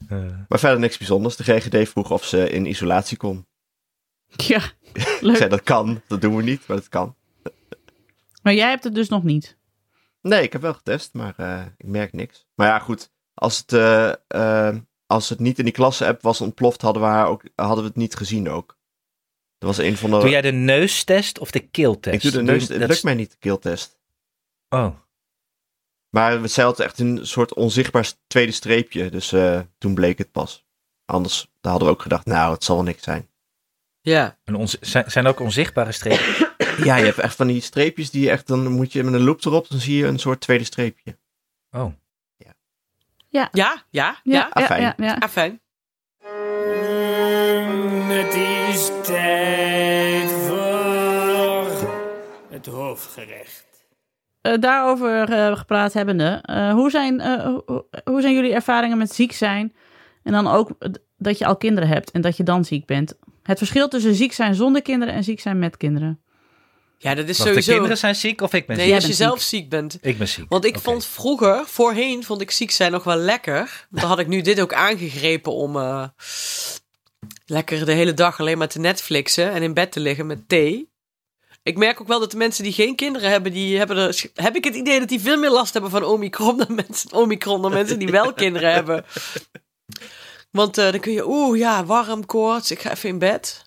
[SPEAKER 5] Eh,
[SPEAKER 3] Maar verder niks bijzonders. De GGD vroeg of ze in isolatie kon.
[SPEAKER 2] Ja,
[SPEAKER 3] Ik
[SPEAKER 2] leuk.
[SPEAKER 3] zei, dat kan. Dat doen we niet, maar dat kan.
[SPEAKER 2] Maar jij hebt het dus nog niet.
[SPEAKER 3] Nee, ik heb wel getest, maar eh, ik merk niks. Maar ja, goed. Als het, eh, eh, als het niet in die klasse-app was ontploft, hadden we, haar ook, hadden we het niet gezien ook. Er was een van de...
[SPEAKER 5] Doe jij de neustest of de keeltest?
[SPEAKER 3] Ik doe de neus,
[SPEAKER 5] je-
[SPEAKER 3] het
[SPEAKER 5] dat
[SPEAKER 3] lukt
[SPEAKER 5] is-
[SPEAKER 3] mij niet, de keeltest.
[SPEAKER 5] Oh,
[SPEAKER 3] Maar zij had echt een soort onzichtbaar tweede streepje, dus eh, toen bleek het pas. Anders hadden we ook gedacht, nou, het zal wel niks zijn.
[SPEAKER 4] Ja.
[SPEAKER 5] een onz- zijn, zijn er ook onzichtbare strepen?
[SPEAKER 3] Ja, je hebt echt van die streepjes die je echt, dan moet je met een loop erop, dan zie je een soort tweede streepje.
[SPEAKER 5] Oh.
[SPEAKER 4] Ja, ja, ja.
[SPEAKER 3] Ah, fijn.
[SPEAKER 2] ja, ja.
[SPEAKER 4] Ah, fijn.
[SPEAKER 1] Het is tijd voor het hoofdgerecht.
[SPEAKER 2] Eh, daarover eh, gepraat hebbende, eh, hoe, zijn, eh, hoe, hoe zijn jullie ervaringen met ziek zijn? En dan ook eh, dat je al kinderen hebt en dat je dan ziek bent. Het verschil tussen ziek zijn zonder kinderen en ziek zijn met kinderen.
[SPEAKER 4] Ja, dat is
[SPEAKER 5] Wacht, de
[SPEAKER 4] sowieso.
[SPEAKER 5] kinderen zijn ziek of ik ben
[SPEAKER 4] nee,
[SPEAKER 5] ziek?
[SPEAKER 2] Jij
[SPEAKER 4] als je
[SPEAKER 2] bent
[SPEAKER 4] zelf ziek bent.
[SPEAKER 5] Ik ben ziek.
[SPEAKER 4] Want ik
[SPEAKER 5] Oké.
[SPEAKER 4] vond vroeger, voorheen vond ik ziek zijn nog wel lekker. Dan had ik nu dit ook aangegrepen om eh, lekker de hele dag alleen maar te Netflixen en in bed te liggen met thee. Ik merk ook wel dat de mensen die geen kinderen hebben, die hebben er, heb ik het idee dat die veel meer last hebben van omikron dan mensen, omikron dan mensen die wel kinderen hebben. Want eh, dan kun je, oeh ja, warm, koorts, ik ga even in bed.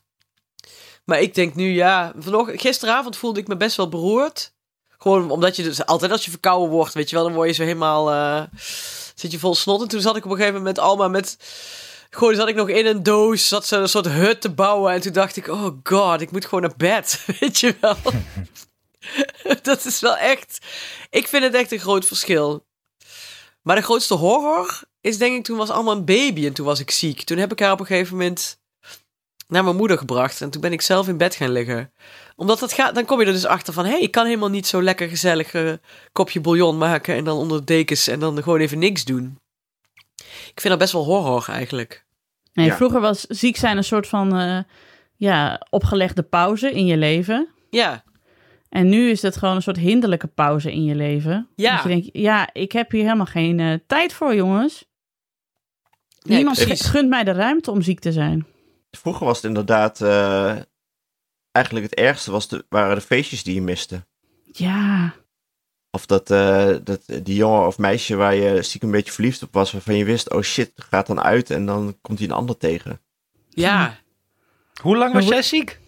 [SPEAKER 4] Maar ik denk nu, ja, vanochtend, gisteravond voelde ik me best wel beroerd. Gewoon omdat je dus altijd als je verkouden wordt, weet je wel, dan word je zo helemaal. eh, zit je vol snot. En toen zat ik op een gegeven moment met Alma met. Gewoon zat ik nog in een doos, zat ze een soort hut te bouwen. En toen dacht ik, oh god, ik moet gewoon naar bed. Weet je wel. dat is wel echt. Ik vind het echt een groot verschil. Maar de grootste horror is denk ik, toen was Alma een baby en toen was ik ziek. Toen heb ik haar op een gegeven moment naar mijn moeder gebracht. En toen ben ik zelf in bed gaan liggen omdat dat gaat, dan kom je er dus achter van: hé, hey, ik kan helemaal niet zo lekker gezellig eh, kopje bouillon maken en dan onder de dekens en dan gewoon even niks doen. Ik vind dat best wel horror eigenlijk.
[SPEAKER 2] Nee,
[SPEAKER 3] Ja.
[SPEAKER 2] Vroeger was ziek zijn een soort van eh, ja, opgelegde pauze in je leven.
[SPEAKER 4] Ja,
[SPEAKER 2] En nu is het gewoon een soort hinderlijke pauze in je leven.
[SPEAKER 4] Ja.
[SPEAKER 2] Dat je denkt, ja, ik heb hier helemaal geen eh, tijd voor, jongens.
[SPEAKER 4] Nee,
[SPEAKER 2] Niemand
[SPEAKER 4] precies.
[SPEAKER 2] gunt mij de ruimte om ziek te zijn.
[SPEAKER 3] Vroeger was het inderdaad eh, eigenlijk het ergste was de, waren de feestjes die je miste.
[SPEAKER 2] Ja.
[SPEAKER 3] Of dat, eh, dat die jongen of meisje waar je stiekem een beetje verliefd op was, waarvan je wist, oh shit, gaat dan uit en dan komt hij een ander tegen.
[SPEAKER 4] Ja.
[SPEAKER 5] Hoe lang was
[SPEAKER 2] hoe-
[SPEAKER 5] jij ziek?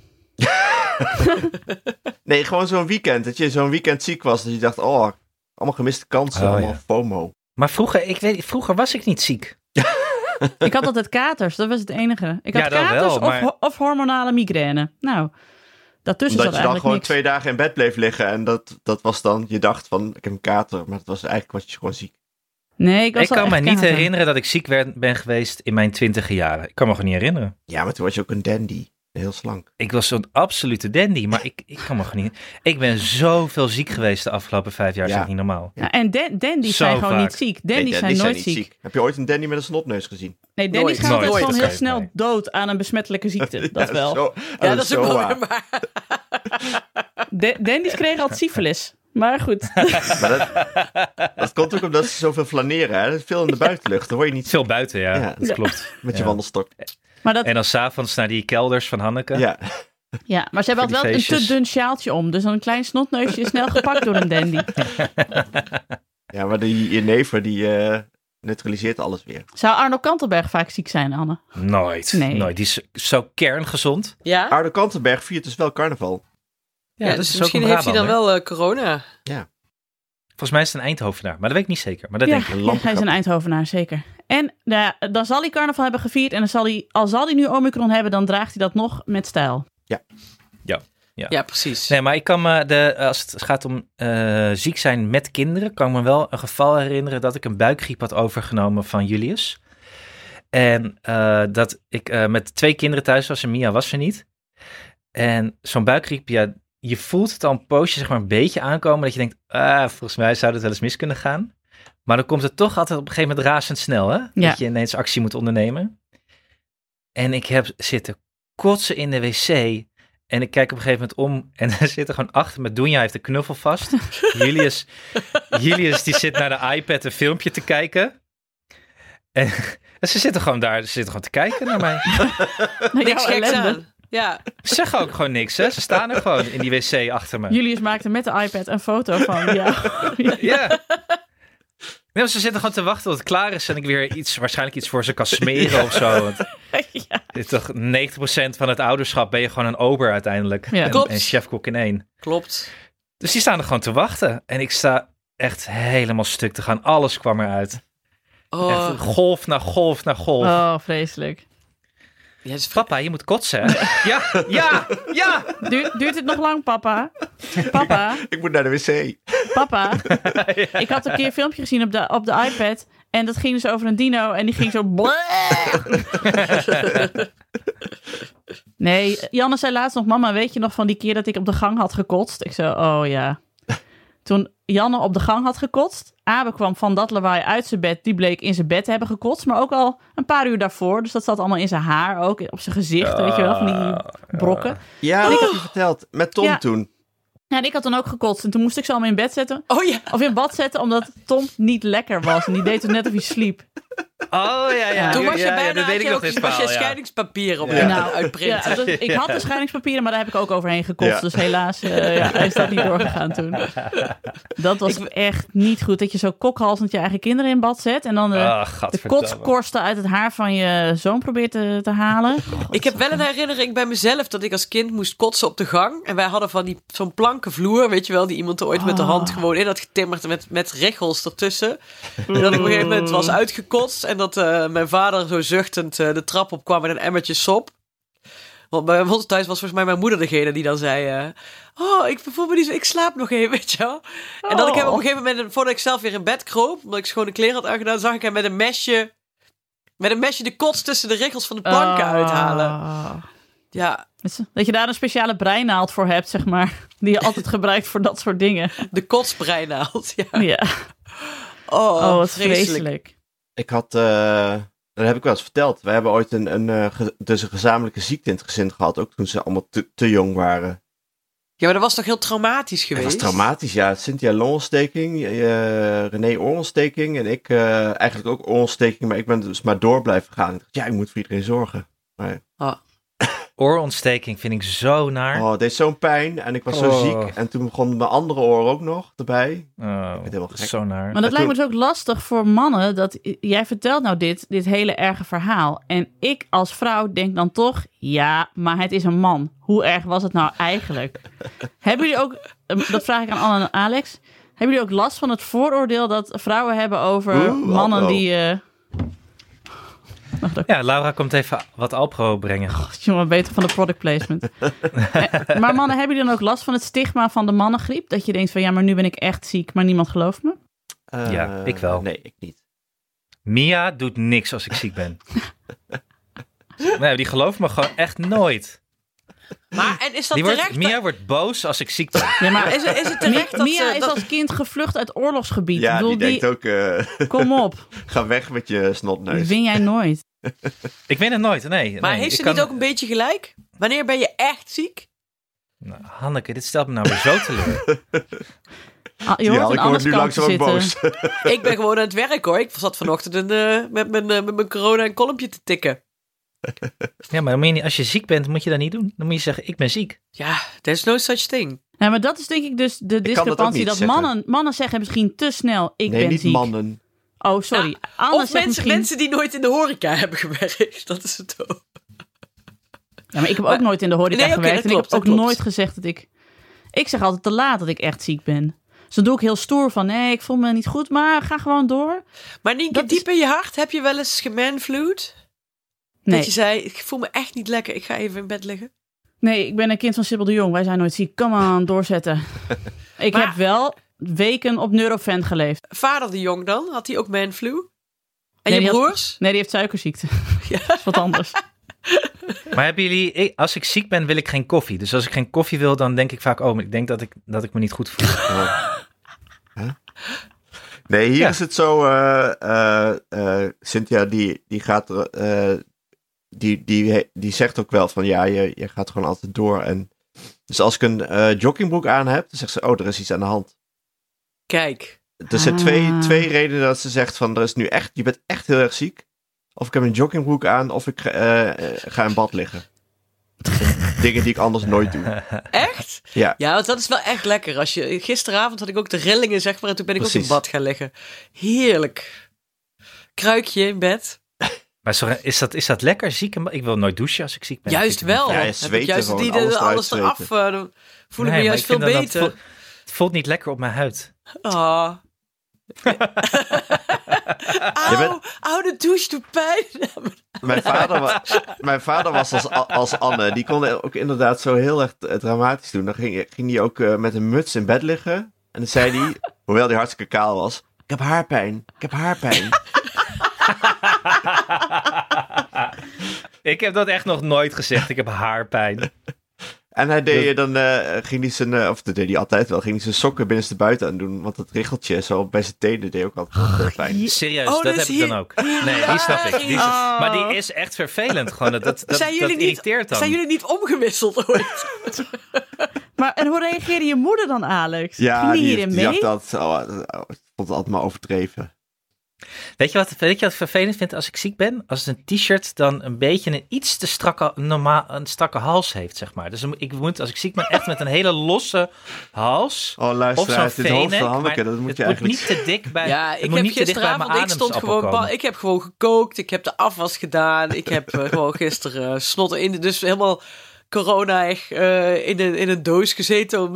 [SPEAKER 3] Nee, gewoon zo'n weekend. Dat je zo'n weekend ziek was, dat je dacht, oh, allemaal gemiste kansen,
[SPEAKER 5] Oh,
[SPEAKER 3] allemaal
[SPEAKER 5] ja.
[SPEAKER 3] FOMO.
[SPEAKER 5] Maar vroeger, ik weet, vroeger was ik niet ziek.
[SPEAKER 2] Ik had altijd katers, dat was het enige. Ik had
[SPEAKER 5] Ja, dat wel,
[SPEAKER 2] katers of,
[SPEAKER 5] maar-
[SPEAKER 2] ho- of hormonale migraine. Nou, daartussen
[SPEAKER 3] Omdat
[SPEAKER 2] zat
[SPEAKER 3] je dan
[SPEAKER 2] eigenlijk
[SPEAKER 3] gewoon
[SPEAKER 2] niks.
[SPEAKER 3] twee dagen in bed bleef liggen en dat, dat was dan, je dacht van, ik heb een kater, maar het was eigenlijk was je gewoon ziek.
[SPEAKER 2] Nee, ik was
[SPEAKER 5] Ik
[SPEAKER 2] wel
[SPEAKER 5] kan me
[SPEAKER 2] echt
[SPEAKER 5] niet
[SPEAKER 2] kater.
[SPEAKER 5] herinneren dat ik ziek werd, ben geweest in mijn twintige jaren. Ik kan me gewoon niet herinneren.
[SPEAKER 3] Ja, maar toen was je ook een dandy. Heel slank.
[SPEAKER 5] Ik was zo'n absolute dandy, maar ik, ik kan me gewoon niet... Ik ben zoveel ziek geweest de afgelopen vijf jaar,
[SPEAKER 3] Ja.
[SPEAKER 5] dat is echt niet normaal.
[SPEAKER 2] Ja, en dan- dandies
[SPEAKER 5] Zo
[SPEAKER 2] zijn gewoon
[SPEAKER 5] vaak.
[SPEAKER 2] niet ziek. Dandies
[SPEAKER 3] Nee,
[SPEAKER 2] zijn nooit ziek.
[SPEAKER 3] Heb je ooit een dandy met een snotneus gezien?
[SPEAKER 2] Nee, dandies
[SPEAKER 4] Nooit.
[SPEAKER 2] gaan altijd
[SPEAKER 4] Nooit.
[SPEAKER 2] gewoon
[SPEAKER 5] Dat
[SPEAKER 2] heel
[SPEAKER 5] kan
[SPEAKER 2] snel
[SPEAKER 5] je- nee.
[SPEAKER 2] dood aan een besmettelijke ziekte. Dat
[SPEAKER 3] Ja,
[SPEAKER 2] wel.
[SPEAKER 3] zo-
[SPEAKER 5] Oh,
[SPEAKER 4] Ja, dat is
[SPEAKER 3] zo
[SPEAKER 4] ook wel
[SPEAKER 3] waar.
[SPEAKER 4] weer waar.
[SPEAKER 2] Da- dandies kregen altijd syfilis. Maar goed.
[SPEAKER 3] Maar dat, dat komt ook omdat ze zoveel flaneren. Hè? Veel in de buitenlucht. Dan word je niet
[SPEAKER 5] Veel buiten, ja.
[SPEAKER 3] Ja.
[SPEAKER 5] Dat
[SPEAKER 2] Ja.
[SPEAKER 5] klopt.
[SPEAKER 3] met je
[SPEAKER 5] Ja.
[SPEAKER 3] wandelstok.
[SPEAKER 2] Maar, dat,
[SPEAKER 5] En dan s'avonds naar die kelders van Hanneke.
[SPEAKER 3] Ja.
[SPEAKER 2] ja, maar ze hebben
[SPEAKER 5] Voor die
[SPEAKER 2] altijd wel een
[SPEAKER 5] feestjes.
[SPEAKER 2] te dun sjaaltje om. Dus een klein snotneusje is snel gepakt door een dandy.
[SPEAKER 3] ja, maar die jenever die eh, neutraliseert alles weer.
[SPEAKER 2] Zou Arno Kantelberg vaak ziek zijn, Anne?
[SPEAKER 5] Nooit.
[SPEAKER 2] Nee.
[SPEAKER 5] Nooit. Die is zo kerngezond.
[SPEAKER 4] Ja.
[SPEAKER 3] Ardo Kantenberg viert dus wel carnaval.
[SPEAKER 4] Ja,
[SPEAKER 5] dat
[SPEAKER 4] dus
[SPEAKER 5] is ook
[SPEAKER 4] misschien
[SPEAKER 5] een
[SPEAKER 4] heeft hij dan
[SPEAKER 5] Brabander.
[SPEAKER 4] wel eh, corona.
[SPEAKER 5] Volgens mij is het een Eindhovenaar, maar dat weet ik niet zeker. Maar dat
[SPEAKER 2] ja,
[SPEAKER 5] denk ik.
[SPEAKER 2] ja, hij is een Eindhovenaar, zeker. En nou ja, dan zal hij carnaval hebben gevierd. En dan zal hij, al zal hij nu Omicron hebben, dan draagt hij dat nog met stijl.
[SPEAKER 4] Ja, precies.
[SPEAKER 5] Nee, maar ik kan me, de, als het gaat om eh, ziek zijn met kinderen, kan ik me wel een geval herinneren dat ik een buikgriep had overgenomen van Julius. En eh, dat ik eh, met twee kinderen thuis was en Mia was er niet. En zo'n buikgriep, ja, je voelt het al een poosje, zeg maar, een beetje aankomen. Dat je denkt, ah, volgens mij zou dit wel eens mis kunnen gaan. Maar dan komt het toch altijd op een gegeven moment razendsnel, hè?
[SPEAKER 2] Ja.
[SPEAKER 5] Dat je ineens actie moet ondernemen. En ik heb zitten kotsen in de wc. En ik kijk op een gegeven moment om en er zit er gewoon achter me. Doenja heeft de knuffel vast. Julius, Julius die zit naar de iPad een filmpje te kijken. En, en ze zitten gewoon daar, ze zitten gewoon te kijken naar mij.
[SPEAKER 2] Nou,
[SPEAKER 4] Niks
[SPEAKER 2] jouw
[SPEAKER 4] geks
[SPEAKER 2] ellende.
[SPEAKER 4] aan. Ja.
[SPEAKER 5] Ze zeggen ook gewoon niks, hè. Ze staan er gewoon in die wc achter me.
[SPEAKER 2] Julius maakte met de iPad een foto van jou.
[SPEAKER 5] Ja. Nee, maar ze zitten gewoon te wachten tot het klaar is en ik weer iets, waarschijnlijk iets voor ze kan smeren of zo. Want
[SPEAKER 2] ja.
[SPEAKER 5] dit is toch 90% van het ouderschap ben je gewoon een ober uiteindelijk.
[SPEAKER 2] Ja.
[SPEAKER 5] En,
[SPEAKER 4] Klopt.
[SPEAKER 5] en chefkok in één.
[SPEAKER 4] Klopt.
[SPEAKER 5] Dus die staan er gewoon te wachten. En ik sta echt helemaal stuk te gaan. Alles kwam eruit. Echt
[SPEAKER 4] Oh,
[SPEAKER 5] golf na golf na golf.
[SPEAKER 2] Oh, vreselijk.
[SPEAKER 4] ja, het is vra-
[SPEAKER 5] Papa, je moet kotsen. hè? ja, ja, ja.
[SPEAKER 2] Duurt, duurt het nog lang, papa? Papa,
[SPEAKER 3] Ik moet naar de wc.
[SPEAKER 2] papa. Ik had een keer een filmpje gezien op de, op de iPad. En dat ging dus over een dino. En die ging zo... Nee, Janne zei laatst nog... Mama, weet je nog van die keer dat ik op de gang had gekotst? Ik zei, oh ja. Toen Janne op de gang had gekotst... Abe kwam van dat lawaai uit zijn bed. Die bleek in zijn bed te hebben gekotst. Maar ook al een paar uur daarvoor. Dus dat zat allemaal in zijn haar ook. Op zijn gezicht, weet je wel. Van die brokken.
[SPEAKER 3] Ja, ik had je verteld. Met Tom
[SPEAKER 2] Ja.
[SPEAKER 3] toen.
[SPEAKER 2] Ja, en ik had dan ook gekotst. En toen moest ik ze allemaal in bed zetten.
[SPEAKER 4] oh ja.
[SPEAKER 2] Of in bad zetten, omdat Tom niet lekker was. En die deed toen net of hij sliep.
[SPEAKER 5] Oh ja, ja.
[SPEAKER 4] Toen
[SPEAKER 5] ja,
[SPEAKER 4] was je
[SPEAKER 5] ja,
[SPEAKER 4] bijna,
[SPEAKER 5] ja, dat
[SPEAKER 4] had
[SPEAKER 5] weet
[SPEAKER 4] je
[SPEAKER 5] ik nog
[SPEAKER 4] ook-
[SPEAKER 5] dit
[SPEAKER 4] was je
[SPEAKER 5] verhaal, ja.
[SPEAKER 4] scheidingspapier op
[SPEAKER 3] Ja.
[SPEAKER 4] ja.
[SPEAKER 2] Nou,
[SPEAKER 4] uitprinten.
[SPEAKER 2] ja, dus ik had de scheidingspapieren, maar daar heb ik ook overheen gekotst.
[SPEAKER 3] Ja.
[SPEAKER 2] Dus helaas eh, ja, is dat niet doorgegaan toen. Dat was echt niet goed. Dat je zo kokhalsend je eigen kinderen in bad zet. En dan de,
[SPEAKER 5] Ah,
[SPEAKER 2] de
[SPEAKER 5] gadverdamme.
[SPEAKER 2] kotskorsten uit het haar van je zoon probeert te, te halen.
[SPEAKER 4] Ik heb wel een herinnering bij mezelf dat ik als kind moest kotsen op de gang. En wij hadden van die zo'n plankenvloer, weet je wel, die iemand er ooit met de hand gewoon in had getimmerd met, met richels ertussen. En dat ik op een gegeven moment was uitgekotst en dat eh, mijn vader zo zuchtend eh, de trap opkwam met een emmertje sop. Want bij ons thuis was volgens mij mijn moeder degene die dan zei... eh, oh, ik voel me niet zo... Ik slaap nog even, weet je wel. En dat ik hem op een gegeven moment... Voordat ik zelf weer in bed kroop... Omdat ik schone kleren had aangedaan... Zag ik hem met een mesje... Met een mesje de kots tussen de regels van de planken
[SPEAKER 2] Ah.
[SPEAKER 4] uithalen. Ja,
[SPEAKER 2] Dat je daar een speciale breinaald voor hebt, zeg maar. Die je altijd gebruikt voor dat soort dingen.
[SPEAKER 4] de kotsbreinaald. Ja.
[SPEAKER 2] Ja.
[SPEAKER 4] Oh,
[SPEAKER 2] Oh, wat
[SPEAKER 4] vreselijk.
[SPEAKER 2] vreselijk.
[SPEAKER 3] Ik had, eh, dat heb ik wel eens verteld. We hebben ooit een, een, eh, ge- dus een gezamenlijke ziekte in het gezin gehad. Ook toen ze allemaal te, te jong waren.
[SPEAKER 4] Ja, maar dat was toch heel traumatisch geweest?
[SPEAKER 3] Het was traumatisch, ja. Cynthia longontsteking, eh René oorontsteking en ik eh, eigenlijk ook oorontsteking, maar ik ben dus maar door blijven gaan. Ik dacht, ja, ik moet voor iedereen zorgen. Maar
[SPEAKER 4] Ah.
[SPEAKER 5] oorontsteking vind ik zo naar.
[SPEAKER 3] Oh, het deed zo'n pijn en ik was zo
[SPEAKER 5] Oh.
[SPEAKER 3] ziek. En toen begon mijn andere oor ook nog erbij.
[SPEAKER 5] Oh,
[SPEAKER 3] het helemaal gek.
[SPEAKER 5] zo naar.
[SPEAKER 2] Maar dat
[SPEAKER 3] En
[SPEAKER 2] lijkt me
[SPEAKER 3] toen-
[SPEAKER 2] dus ook lastig voor mannen. Dat jij vertelt nou dit, dit hele erge verhaal. En ik als vrouw denk dan toch, ja, maar het is een man. Hoe erg was het nou eigenlijk? hebben jullie ook, eh, dat vraag ik aan Anne en Alex. Hebben jullie ook last van het vooroordeel dat vrouwen hebben over
[SPEAKER 3] Oeh, oh,
[SPEAKER 2] mannen
[SPEAKER 3] Alpro.
[SPEAKER 2] die. eh
[SPEAKER 5] Ja, Laura komt even wat Alpro brengen.
[SPEAKER 2] jongen, beter van de product placement. Eh, maar mannen, hebben jullie dan ook last van het stigma van de mannengriep? Dat je denkt van ja, maar nu ben ik echt ziek, maar niemand gelooft me?
[SPEAKER 3] Eh,
[SPEAKER 5] Ja, ik wel.
[SPEAKER 3] Nee, ik niet.
[SPEAKER 5] Mia doet niks als ik ziek ben. nee, die gelooft me gewoon echt nooit.
[SPEAKER 4] Maar en is dat
[SPEAKER 5] Die wordt,
[SPEAKER 4] terecht?
[SPEAKER 5] Mia wordt boos als ik ziek ben.
[SPEAKER 2] Ja, maar
[SPEAKER 4] Is, is het terecht dat
[SPEAKER 2] Mia
[SPEAKER 4] ze...
[SPEAKER 2] is
[SPEAKER 4] dat-
[SPEAKER 2] als kind gevlucht uit oorlogsgebied.
[SPEAKER 3] Ja,
[SPEAKER 2] Ik bedoel,
[SPEAKER 3] die denkt ook, eh,
[SPEAKER 2] Kom op,
[SPEAKER 3] ga weg met je
[SPEAKER 2] die
[SPEAKER 3] snotneus.
[SPEAKER 2] win jij nooit.
[SPEAKER 5] Ik weet het nooit, nee.
[SPEAKER 4] Maar
[SPEAKER 5] nee,
[SPEAKER 4] heeft
[SPEAKER 5] ik
[SPEAKER 4] ze
[SPEAKER 5] kan-
[SPEAKER 4] niet ook een beetje gelijk? Wanneer ben je echt ziek?
[SPEAKER 5] Nou, Hanneke, dit stelt me nou weer zo teleur.
[SPEAKER 2] Ah, Je
[SPEAKER 3] Ja,
[SPEAKER 2] hoort
[SPEAKER 3] ik
[SPEAKER 2] een
[SPEAKER 3] word
[SPEAKER 2] ander kantje
[SPEAKER 3] nu langzaam ook
[SPEAKER 2] zitten.
[SPEAKER 3] boos.
[SPEAKER 4] ik ben gewoon aan het werk hoor. Ik zat vanochtend een, eh, met, mijn, eh, met mijn corona een kolompje te tikken.
[SPEAKER 5] Ja, maar dan moet je niet- als je ziek bent, moet je dat niet doen. Dan moet je zeggen, ik ben ziek.
[SPEAKER 4] Ja, there's no such thing.
[SPEAKER 2] Ja, maar dat is denk ik dus de
[SPEAKER 3] dat ook
[SPEAKER 2] discrepantie.
[SPEAKER 3] niet
[SPEAKER 2] Dat,
[SPEAKER 3] zeggen.
[SPEAKER 2] mannen, mannen zeggen misschien te snel, ik
[SPEAKER 3] nee,
[SPEAKER 2] ben
[SPEAKER 3] niet
[SPEAKER 2] ziek.
[SPEAKER 3] mannen.
[SPEAKER 2] Oh, sorry. Anne
[SPEAKER 4] Nou, Of
[SPEAKER 2] zegt
[SPEAKER 4] mensen,
[SPEAKER 2] misschien...
[SPEAKER 4] mensen die nooit in de horeca hebben gewerkt. Dat is het ook.
[SPEAKER 2] Ja, maar ik heb ook nooit in de horeca
[SPEAKER 4] Nee, oké,
[SPEAKER 2] gewerkt.
[SPEAKER 4] dat
[SPEAKER 2] en ik heb
[SPEAKER 4] klopt,
[SPEAKER 2] ook
[SPEAKER 4] dat klopt.
[SPEAKER 2] nooit gezegd dat ik... Ik zeg altijd te laat dat ik echt ziek ben. Dus dan doe ik heel stoer van, nee, ik voel me niet goed, maar ga gewoon door.
[SPEAKER 4] Maar Nienke,
[SPEAKER 2] Dat is-
[SPEAKER 4] diep in je hart heb je wel eens gemanvloed? Dat je
[SPEAKER 2] Nee,
[SPEAKER 4] zei, ik voel me echt niet lekker. Ik ga even in bed liggen.
[SPEAKER 2] nee ik ben een kind van Sibyl de Jong. Wij zijn nooit ziek. Kom aan, doorzetten. ik
[SPEAKER 4] Maar-
[SPEAKER 2] heb wel weken op Neurofan geleefd.
[SPEAKER 4] Vader de Jong dan, had hij ook manflu? En
[SPEAKER 2] Nee,
[SPEAKER 4] je
[SPEAKER 2] die had-
[SPEAKER 4] broers?
[SPEAKER 2] Nee, die heeft suikerziekte. Dat is wat anders.
[SPEAKER 5] Maar hebben jullie, ik- als ik ziek ben, wil ik geen koffie. Dus als ik geen koffie wil, dan denk ik vaak, oh, maar ik denk dat ik, dat ik me niet goed voel.
[SPEAKER 3] Nee, hier
[SPEAKER 5] Ja.
[SPEAKER 3] is het zo. eh, eh, eh, Cynthia, die, die gaat. er, eh, die, die, die zegt ook wel van ja, je, je gaat gewoon altijd door. En, dus als ik een eh, joggingbroek aan heb, dan zegt ze: Oh, er is iets aan de hand.
[SPEAKER 4] Kijk,
[SPEAKER 3] Er zijn
[SPEAKER 2] Ah.
[SPEAKER 3] twee, twee redenen dat ze zegt: van er is nu echt, je bent echt heel erg ziek. Of ik heb een joggingbroek aan, of ik eh, eh, ga in bad liggen. Dingen die ik anders nooit doe.
[SPEAKER 4] echt?
[SPEAKER 3] Ja.
[SPEAKER 4] Ja, want dat is wel echt lekker. Als je, gisteravond had ik ook de rillingen, zeg maar. En toen ben ik ook
[SPEAKER 3] Precies.
[SPEAKER 4] in bad gaan liggen. Heerlijk. Kruikje in bed.
[SPEAKER 5] Maar sorry, is dat, is dat lekker ziek? en- Ik wil nooit douchen als ik ziek ben.
[SPEAKER 4] juist
[SPEAKER 5] Ik-
[SPEAKER 4] wel.
[SPEAKER 3] Ja, je
[SPEAKER 4] Heb ik
[SPEAKER 3] zweten
[SPEAKER 4] juist
[SPEAKER 3] gewoon,
[SPEAKER 4] die,
[SPEAKER 3] alles
[SPEAKER 4] alles,
[SPEAKER 3] eruit
[SPEAKER 4] alles eraf.
[SPEAKER 3] zweten.
[SPEAKER 4] eh, dan voel ik me
[SPEAKER 5] Nee, maar
[SPEAKER 4] juist veel
[SPEAKER 5] vind dat- dat
[SPEAKER 4] beter.
[SPEAKER 5] voelt- het voelt niet lekker op mijn huid.
[SPEAKER 4] Ah. Au,
[SPEAKER 3] bent-
[SPEAKER 4] au, de douche doet pijn.
[SPEAKER 3] Mijn vader, wa- mijn vader was als, als Anne. Die kon ook inderdaad zo heel erg eh, dramatisch doen. Dan ging, ging hij ook eh, met een muts in bed liggen. En dan zei hij, hoewel hij hartstikke kaal was... Ik heb haarpijn, ik heb haarpijn.
[SPEAKER 5] Ik heb dat echt nog nooit gezegd. Ik heb haarpijn.
[SPEAKER 3] En hij deed, eh, dan eh, ging hij zijn... eh, of dat deed hij altijd wel. Ging hij zijn sokken binnenste buiten aan doen. Want dat richeltje zo bij zijn tenen deed ook altijd eh, pijn.
[SPEAKER 5] Serieus,
[SPEAKER 4] Oh,
[SPEAKER 5] dat
[SPEAKER 4] dat
[SPEAKER 5] heb
[SPEAKER 4] is
[SPEAKER 5] ik dan
[SPEAKER 4] hier-
[SPEAKER 5] ook. Nee, die snap ik. Die is-
[SPEAKER 4] Oh.
[SPEAKER 5] Maar die is echt vervelend. Gewoon, dat, dat, dat,
[SPEAKER 4] zijn,
[SPEAKER 5] dat
[SPEAKER 4] jullie niet,
[SPEAKER 5] irriteert dan.
[SPEAKER 4] zijn jullie niet omgewisseld ooit?
[SPEAKER 2] Maar en hoe reageerde je moeder dan, Alex?
[SPEAKER 3] Ja,
[SPEAKER 2] Ging die
[SPEAKER 3] die,
[SPEAKER 2] hierin
[SPEAKER 3] die
[SPEAKER 2] mee?
[SPEAKER 3] dacht dat... Oh, eh, oh, ik vond het altijd maar overdreven.
[SPEAKER 5] Weet je wat, weet je wat ik vervelend vind als ik ziek ben? Als het een t-shirt dan een beetje een iets te strakke, normaal, een strakke hals heeft, zeg maar. Dus dan moet- ik moet, als ik ziek ben, echt met een hele losse hals.
[SPEAKER 3] Oh,
[SPEAKER 5] of zo'n
[SPEAKER 3] luisteraars, dit hoofd
[SPEAKER 5] v-nek,
[SPEAKER 3] van
[SPEAKER 5] maar
[SPEAKER 3] Hanneke, dat moet
[SPEAKER 5] het
[SPEAKER 3] je eigenlijk...
[SPEAKER 5] niet te dik bij
[SPEAKER 4] Ja,
[SPEAKER 5] het
[SPEAKER 4] ik
[SPEAKER 5] moet
[SPEAKER 4] heb
[SPEAKER 5] niet te dicht bij mijn
[SPEAKER 4] gisteravond, ik stond
[SPEAKER 5] ademsappel
[SPEAKER 4] gewoon,
[SPEAKER 5] komen.
[SPEAKER 4] ba- ik heb gewoon gekookt, ik heb de afwas gedaan, ik heb eh, gewoon gisteren eh, snotten in, de- dus helemaal corona echt eh, in, een, in een doos gezeten. Om,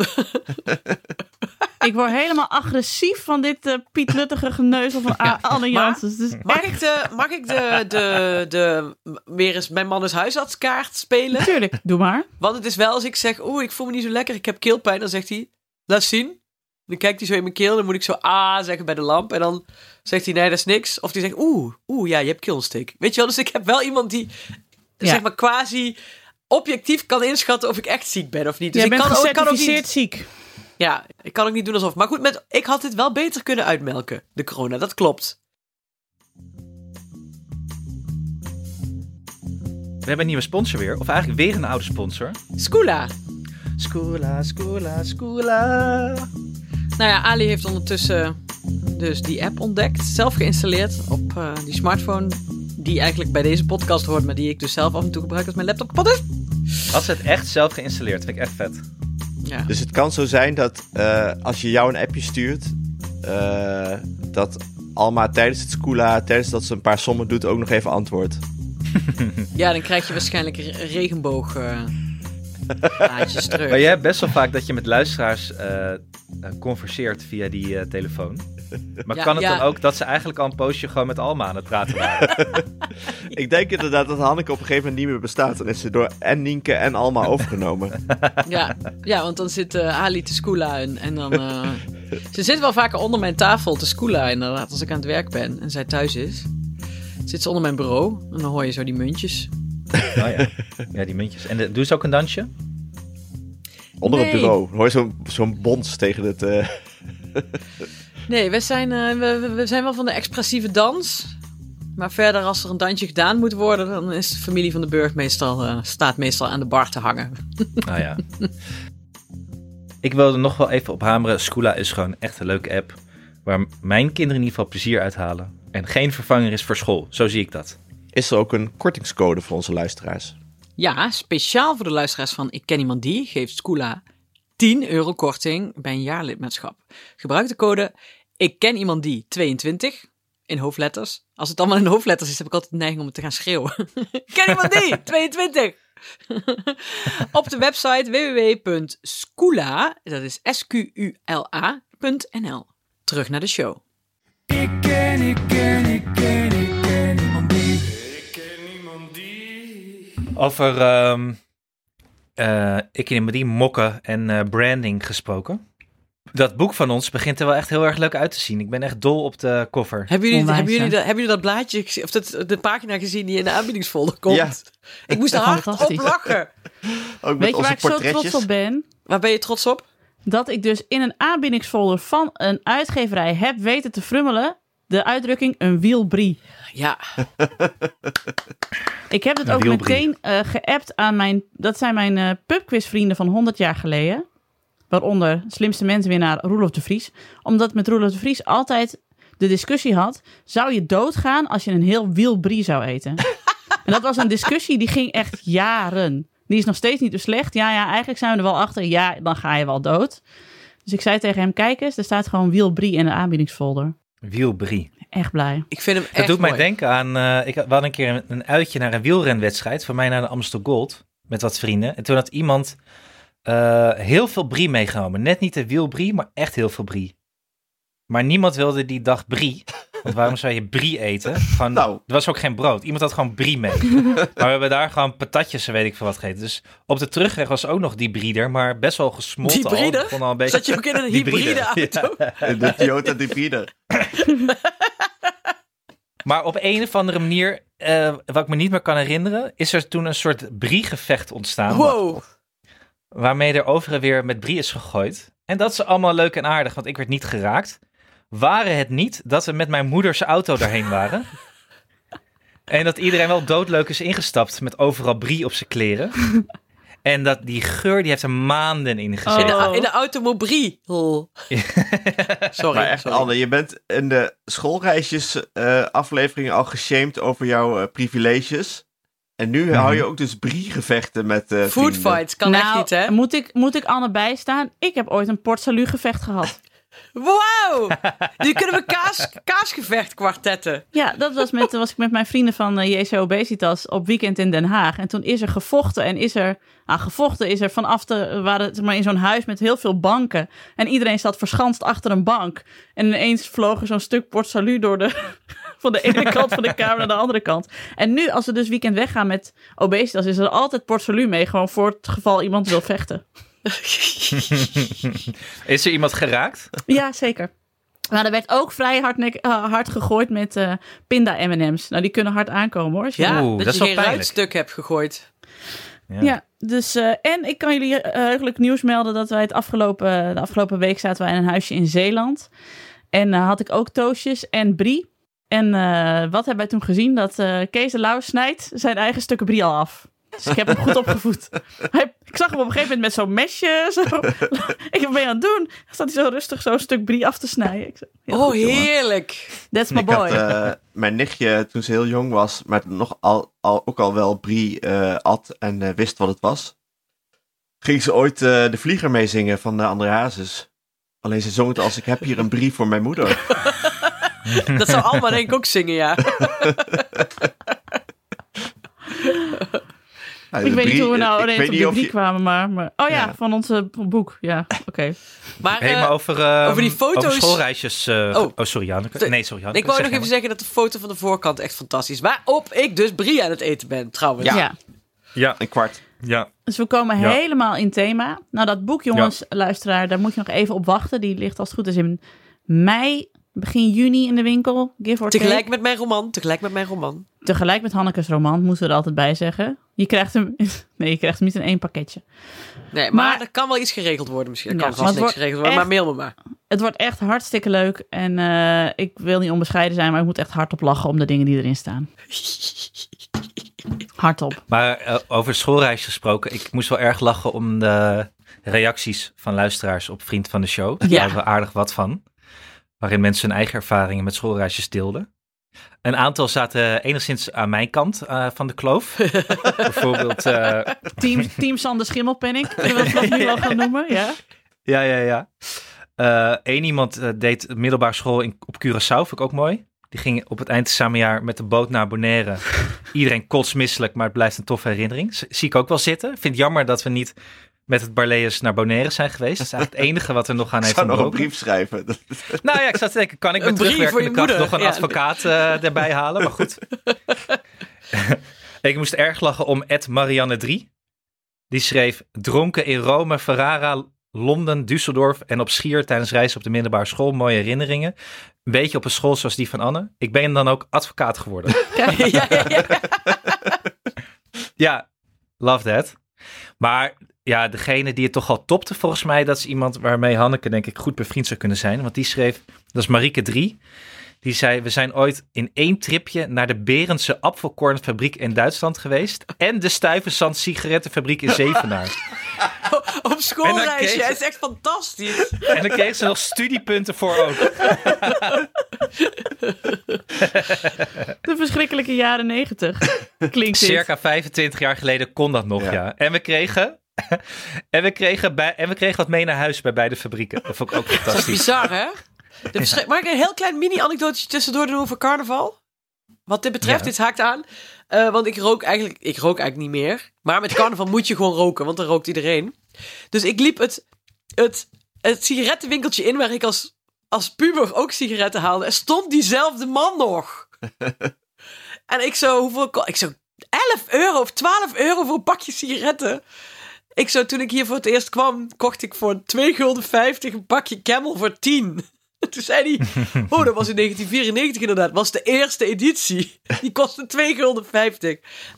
[SPEAKER 2] Ik word helemaal agressief van dit eh pietluttige geneuzel van A- Anne Janssens. Dus
[SPEAKER 4] mag ik de, mag ik de, de, de meer eens mijn man is huisartskaart spelen?
[SPEAKER 2] natuurlijk, doe maar.
[SPEAKER 4] Want het is wel als ik zeg, oeh, ik voel me niet zo lekker, ik heb keelpijn, dan zegt hij, laat zien. Dan kijkt hij zo in mijn keel, dan moet ik zo ah zeggen bij de lamp. En dan zegt hij, nee, dat is niks. Of die zegt, oeh, oeh, ja, je hebt keelontsteking. Weet je wel, dus ik heb wel iemand die,
[SPEAKER 2] Ja.
[SPEAKER 4] zeg maar, quasi objectief kan inschatten of ik echt ziek ben of niet. Dus
[SPEAKER 2] Jij
[SPEAKER 4] ik
[SPEAKER 2] bent
[SPEAKER 4] kan, ook- ik kan ook
[SPEAKER 2] gecertificeerd
[SPEAKER 4] niet,
[SPEAKER 2] ziek.
[SPEAKER 4] ja, ik kan ook niet doen alsof. Maar goed, met, ik had dit wel beter kunnen uitmelken, de corona, dat klopt.
[SPEAKER 5] We hebben een nieuwe sponsor weer, of eigenlijk weer een oude sponsor.
[SPEAKER 4] Skoola.
[SPEAKER 5] Scoola, scoola, scoola.
[SPEAKER 4] Nou ja, Ali heeft ondertussen dus die app ontdekt, zelf geïnstalleerd op eh, die smartphone die eigenlijk bij deze podcast hoort, maar die ik dus zelf af en toe gebruik als mijn laptop kapot is.
[SPEAKER 5] Had ze het echt zelf geïnstalleerd, vind ik echt vet.
[SPEAKER 4] Ja.
[SPEAKER 3] Dus het kan zo zijn dat eh, als je jou een appje stuurt, eh, dat Alma tijdens het schoola, tijdens dat ze een paar sommen doet, ook nog even antwoordt.
[SPEAKER 4] ja, dan krijg je waarschijnlijk een re- regenboog eh, plaatjes terug.
[SPEAKER 5] Maar jij hebt best wel vaak dat je met luisteraars eh, eh, converseert via die eh, telefoon. Maar
[SPEAKER 4] Ja,
[SPEAKER 5] kan het
[SPEAKER 4] ja.
[SPEAKER 5] dan ook dat ze eigenlijk al een poosje gewoon met Alma aan het praten waren?
[SPEAKER 3] Ik denk inderdaad dat Hanneke op een gegeven moment niet meer bestaat. Dan is ze door en Nienke en Alma overgenomen.
[SPEAKER 4] Ja, ja, want dan zit eh Ali te scoola en, en dan... eh, ze zit wel vaker onder mijn tafel te scoola inderdaad, als ik aan het werk ben en zij thuis is. Zit ze onder mijn bureau en dan hoor je zo die muntjes.
[SPEAKER 5] Oh ja. ja, die muntjes. En de, doe ze ook een dansje?
[SPEAKER 3] Onder het
[SPEAKER 4] Nee.
[SPEAKER 3] bureau. Dan Hoor je zo'n zo'n bons tegen het... eh,
[SPEAKER 4] Nee, we zijn, eh, we, we- we zijn wel van de expressieve dans. Maar verder, als er een dansje gedaan moet worden, dan is de familie van de Burg meestal, eh, staat meestal aan de bar te hangen.
[SPEAKER 5] Nou ja. Ik wilde nog wel even op hameren. Scoola is gewoon echt een leuke app. Waar m- mijn kinderen in ieder geval plezier uit halen. En geen vervanger is voor school. Zo zie ik dat.
[SPEAKER 3] is er ook een kortingscode voor onze luisteraars?
[SPEAKER 4] Ja, speciaal voor de luisteraars van Ik Ken Iemand Die geeft Skoola 10 euro korting bij een jaarlidmaatschap. Gebruik de code Ik Ken Iemand Die 22 in hoofdletters. Als het allemaal in hoofdletters is, heb ik altijd de neiging om het te gaan schreeuwen. Ik Ken Iemand Die 22! Op de website www.skoola, dat is S-Q-U-L-A.nl. Terug naar de show.
[SPEAKER 1] Ik ken, ik ken, ik ken, ik ken niemand die. Ik ken niemand die.
[SPEAKER 5] Over ehm eh, ik in die mokken en eh, branding gesproken. Dat boek van ons begint er wel echt heel erg leuk uit te zien. Ik ben echt dol op de cover.
[SPEAKER 4] Hebben jullie,
[SPEAKER 2] Onwijs,
[SPEAKER 4] hebben, jullie
[SPEAKER 2] hè?
[SPEAKER 4] dat, hebben jullie dat blaadje gezien, of dat, de pagina gezien die in de aanbiedingsfolder komt?
[SPEAKER 3] Ja.
[SPEAKER 4] Ik moest er hard op
[SPEAKER 2] Fantastisch.
[SPEAKER 4] lachen.
[SPEAKER 3] Ook met
[SPEAKER 2] Weet je
[SPEAKER 3] onze
[SPEAKER 2] waar ik zo trots
[SPEAKER 3] portretjes?
[SPEAKER 2] op ben?
[SPEAKER 4] Waar ben je trots op?
[SPEAKER 2] Dat ik dus in een aanbindingsfolder van een uitgeverij heb weten te frummelen de uitdrukking een wielbrie.
[SPEAKER 4] Ja,
[SPEAKER 2] Ik heb het
[SPEAKER 5] Een
[SPEAKER 2] ook
[SPEAKER 5] wielbrie.
[SPEAKER 2] meteen eh, geappt aan mijn... Dat zijn mijn eh pubquizvrienden van 100 jaar geleden. Waaronder slimste mensenwinnaar Roelof de Vries. Omdat met Roelof de Vries altijd de discussie had... zou je doodgaan als je een heel wielbrie zou eten? en dat was een discussie die ging echt jaren. Die is nog steeds niet beslecht. Ja, ja, eigenlijk zijn we er wel achter. Ja, dan ga je wel dood. Dus ik zei tegen hem, kijk eens, er staat gewoon wielbrie in de aanbiedingsfolder.
[SPEAKER 5] Wielbrie.
[SPEAKER 2] Echt blij.
[SPEAKER 4] ik vind hem echt
[SPEAKER 5] Dat doet mij
[SPEAKER 4] mooi.
[SPEAKER 5] denken aan. eh, ik had, we hadden een keer een, een uitje naar een wielrenwedstrijd. Van mij naar de Amstel Gold. Met wat vrienden. En toen had iemand eh, heel veel brie meegenomen. Net niet de wielbrie, maar echt heel veel brie. Maar niemand wilde die dag brie. Want waarom zou je brie eten? Gewoon,
[SPEAKER 3] Nou.
[SPEAKER 5] Er was ook geen brood. Iemand had gewoon brie mee. maar we hebben daar gewoon patatjes en weet ik veel wat gegeten. Dus op de terugweg was ook nog die brieder. Maar best wel gesmolten.
[SPEAKER 4] Die
[SPEAKER 5] al.
[SPEAKER 4] brieder?
[SPEAKER 5] Het begon al een beetje...
[SPEAKER 4] Zat je ook in een
[SPEAKER 5] Die
[SPEAKER 4] hybride
[SPEAKER 5] bride,
[SPEAKER 4] auto?
[SPEAKER 3] De Toyota Hybride.
[SPEAKER 5] Maar op een of andere manier, eh, wat ik me niet meer kan herinneren, is er toen een soort briegevecht ontstaan.
[SPEAKER 4] Wow.
[SPEAKER 5] Waarmee er overal weer met brie is gegooid. En dat is allemaal leuk en aardig, want ik werd niet geraakt. Waren het niet dat we met mijn moeders auto daarheen waren. en dat iedereen wel doodleuk is ingestapt met overal brie op zijn kleren. en dat die geur, die heeft er maanden in
[SPEAKER 4] In
[SPEAKER 5] gezeten.
[SPEAKER 4] de,
[SPEAKER 2] Oh.
[SPEAKER 4] in de automobiel. sorry,
[SPEAKER 3] Maar echt,
[SPEAKER 4] sorry.
[SPEAKER 3] Anne, je bent in de schoolreisjes eh, aflevering al geshamed over jouw eh, privileges. En nu
[SPEAKER 2] Mhm.
[SPEAKER 3] hou je ook dus briegevechten met eh
[SPEAKER 4] Food
[SPEAKER 3] vrienden.
[SPEAKER 4] fights kan
[SPEAKER 2] nou,
[SPEAKER 4] echt niet, hè?
[SPEAKER 2] Moet ik, moet ik Anne bijstaan? Ik heb ooit een Port Salut gevecht gehad.
[SPEAKER 4] Wow! Nu kunnen we kaas, kaasgevecht kwartetten.
[SPEAKER 2] Ja, dat was, met, was ik met mijn vrienden van eh, JC Obesitas op weekend in Den Haag. En toen is er gevochten en is er... Nou, gevochten is er vanaf de... We waren zeg maar in zo'n huis met heel veel banken. En iedereen zat verschanst achter een bank. En ineens vloog er zo'n stuk Port Salut door de... Van de ene kant van de kamer naar de andere kant. En nu, als we dus weekend weggaan met Obesitas, is er altijd Port Salut mee. Gewoon voor het geval iemand wil vechten.
[SPEAKER 5] Is er iemand geraakt?
[SPEAKER 2] Ja, zeker. Maar er werd ook vrij hard, nek- eh, hard gegooid met eh, pinda M&M's. Nou, die kunnen hard aankomen hoor. als je-
[SPEAKER 4] Ja,
[SPEAKER 5] Oeh,
[SPEAKER 4] Ah, dat,
[SPEAKER 5] dat is
[SPEAKER 4] je
[SPEAKER 5] wel
[SPEAKER 4] geen
[SPEAKER 5] pijnlijk.
[SPEAKER 4] ruitstuk hebt gegooid.
[SPEAKER 5] Ja.
[SPEAKER 2] Ja, dus eh, en ik kan jullie eh, heugelijk nieuws melden dat wij het afgelopen, de afgelopen week zaten wij in een huisje in Zeeland. En eh, had ik ook toosjes en brie. En eh, wat hebben wij toen gezien? Dat eh, Kees de Lauw snijdt zijn eigen stukken brie al af. Dus ik heb hem goed opgevoed. Hij, ik zag hem op een gegeven moment met zo'n mesje. Zo. ik heb mee aan het doen. Dan staat hij zo rustig zo'n stuk brie af te snijden. Ik zei, heel
[SPEAKER 4] oh,
[SPEAKER 2] goed, jongen.
[SPEAKER 4] heerlijk.
[SPEAKER 2] That's my
[SPEAKER 3] Ik had,
[SPEAKER 2] boy.
[SPEAKER 3] eh, mijn nichtje, toen ze heel jong was, maar nog al, al, ook al wel Brie eh at en eh, wist wat het was, ging ze ooit eh, De Vlieger meezingen van eh, André Hazes. Alleen ze zong het als ik heb hier een brief voor mijn moeder. Nou,
[SPEAKER 4] Dat zou allemaal denk ik ook zingen, ja.
[SPEAKER 3] Ja,
[SPEAKER 2] ik
[SPEAKER 3] de
[SPEAKER 2] weet niet
[SPEAKER 3] Brie-
[SPEAKER 2] hoe we nou
[SPEAKER 3] ik
[SPEAKER 2] ineens
[SPEAKER 3] weet
[SPEAKER 2] op
[SPEAKER 3] niet
[SPEAKER 2] die
[SPEAKER 3] of je-
[SPEAKER 2] drie kwamen, maar... maar oh ja,
[SPEAKER 3] Ja.
[SPEAKER 2] van ons eh, boek. Ja, oké.
[SPEAKER 4] Maar,
[SPEAKER 5] Hey,
[SPEAKER 4] eh,
[SPEAKER 5] maar over, eh,
[SPEAKER 4] over die foto's-
[SPEAKER 5] over schoolreisjes. eh,
[SPEAKER 4] Oh.
[SPEAKER 5] oh. sorry, Janneke.
[SPEAKER 4] Sorry.
[SPEAKER 5] Nee, sorry, Janneke.
[SPEAKER 4] ik wou
[SPEAKER 5] Zeg
[SPEAKER 4] nog even
[SPEAKER 5] maar.
[SPEAKER 4] zeggen dat de foto van de voorkant echt fantastisch is. Waarop ik dus Brie aan het eten ben, trouwens.
[SPEAKER 2] Ja.
[SPEAKER 5] Ja,
[SPEAKER 3] Een kwart.
[SPEAKER 5] ja.
[SPEAKER 2] Dus we komen
[SPEAKER 5] Ja.
[SPEAKER 2] helemaal in thema. Nou, dat boek, jongens, luisteraar, daar moet je nog even op wachten. Die ligt als het goed is in mei, begin juni in de winkel. Give or take.
[SPEAKER 4] Tegelijk met mijn roman, tegelijk met mijn roman.
[SPEAKER 2] Tegelijk met Hannekes roman, moeten we er altijd bij zeggen. Je krijgt hem, nee, je krijgt hem niet in één pakketje.
[SPEAKER 4] Nee, maar,
[SPEAKER 2] Maar-
[SPEAKER 4] er kan wel iets geregeld worden misschien. Er
[SPEAKER 2] Ja,
[SPEAKER 4] kan
[SPEAKER 2] want
[SPEAKER 4] vast
[SPEAKER 2] het
[SPEAKER 4] niks
[SPEAKER 2] wordt
[SPEAKER 4] geregeld worden,
[SPEAKER 2] echt-
[SPEAKER 4] maar mail me maar.
[SPEAKER 2] Het wordt echt hartstikke leuk. En eh, ik wil niet onbescheiden zijn, maar ik moet echt hardop lachen om de dingen die erin staan. Hardop.
[SPEAKER 5] Maar eh, over schoolreis gesproken, ik moest wel erg lachen om de reacties van luisteraars op Vriend van de Show. Daar
[SPEAKER 2] Ja.
[SPEAKER 5] hadden we aardig wat van. Waarin mensen hun eigen ervaringen met schoolreisjes deelden. Een aantal zaten enigszins aan mijn kant eh, van de kloof. Bijvoorbeeld, eh,
[SPEAKER 2] Team, team Sander Schimmel ben ik. Kunnen we dat vanaf nu wel gaan noemen? Ja.
[SPEAKER 5] ja, ja, ja. Eén iemand eh, deed middelbare school in, op Curaçao, vond ik ook mooi. Die ging op het eind het samenjaar met de boot naar Bonaire. Iedereen kotsmisselijk, maar het blijft een toffe herinnering. Z- zie ik ook wel zitten. Vind het jammer dat we niet met het Barleyers naar Bonaire zijn geweest. Dat is eigenlijk het enige wat er nog aan
[SPEAKER 3] Ik
[SPEAKER 5] heeft
[SPEAKER 3] zou nog een
[SPEAKER 5] ontbroken.
[SPEAKER 3] brief schrijven. Dat-
[SPEAKER 5] Nou ja, ik zat te denken, kan ik
[SPEAKER 4] Een
[SPEAKER 5] met
[SPEAKER 4] brief voor
[SPEAKER 5] terugwerkende
[SPEAKER 4] je
[SPEAKER 5] kracht
[SPEAKER 4] moeder.
[SPEAKER 5] nog een
[SPEAKER 4] Ja.
[SPEAKER 5] advocaat eh, erbij halen? Maar goed. ik moest erg lachen om Ed Marianne 3. Die schreef, dronken in Rome, Ferrara, Londen, Düsseldorf en op Schier tijdens reizen op de middelbare school. Mooie herinneringen. Een beetje op een school zoals die van Anne. Ik ben dan ook advocaat geworden.
[SPEAKER 4] ja, ja, ja.
[SPEAKER 5] ja, love that. Maar ja, degene die het toch al topte volgens mij, dat is iemand waarmee Hanneke denk ik goed bevriend zou kunnen zijn. Want die schreef, dat is Marieke 3. Die zei, we zijn ooit in één tripje naar de Berendse Apfelkornfabriek in Duitsland geweest. En de Stuyvesant sigarettenfabriek in Zevenaar.
[SPEAKER 4] Op
[SPEAKER 5] En dan
[SPEAKER 4] schoolreisje,
[SPEAKER 5] keek ze-
[SPEAKER 4] het is echt fantastisch.
[SPEAKER 5] En daar kreeg ze nog studiepunten voor ook.
[SPEAKER 2] De verschrikkelijke jaren negentig. Klinkt dit.
[SPEAKER 5] Circa 25 jaar geleden kon dat nog,
[SPEAKER 3] Ja.
[SPEAKER 5] ja. En we kregen... En we, kregen bij, en we kregen wat mee naar huis bij beide fabrieken. Dat vond ik ook fantastisch.
[SPEAKER 4] Bizar, hè? De verschri- Mag ik een heel klein mini-anekdootje tussendoor doen over carnaval? Wat dit betreft,
[SPEAKER 5] Ja.
[SPEAKER 4] dit haakt aan. Eh, want ik rook, eigenlijk, ik rook eigenlijk niet meer. Maar met carnaval moet je gewoon roken, want dan rookt iedereen. Dus ik liep het, het, het sigarettenwinkeltje in waar ik als, als puber ook sigaretten haalde. En stond diezelfde man nog. en ik zo, hoeveel... ko- Ik zo, 11 euro of 12 euro voor een pakje sigaretten. Ik zou toen ik hier voor het eerst kwam, kocht ik voor 2,50 gulden een pakje Camel voor 10. Toen zei hij, oh dat was in 1994 inderdaad, was de eerste editie. Die kostte 2,50 gulden.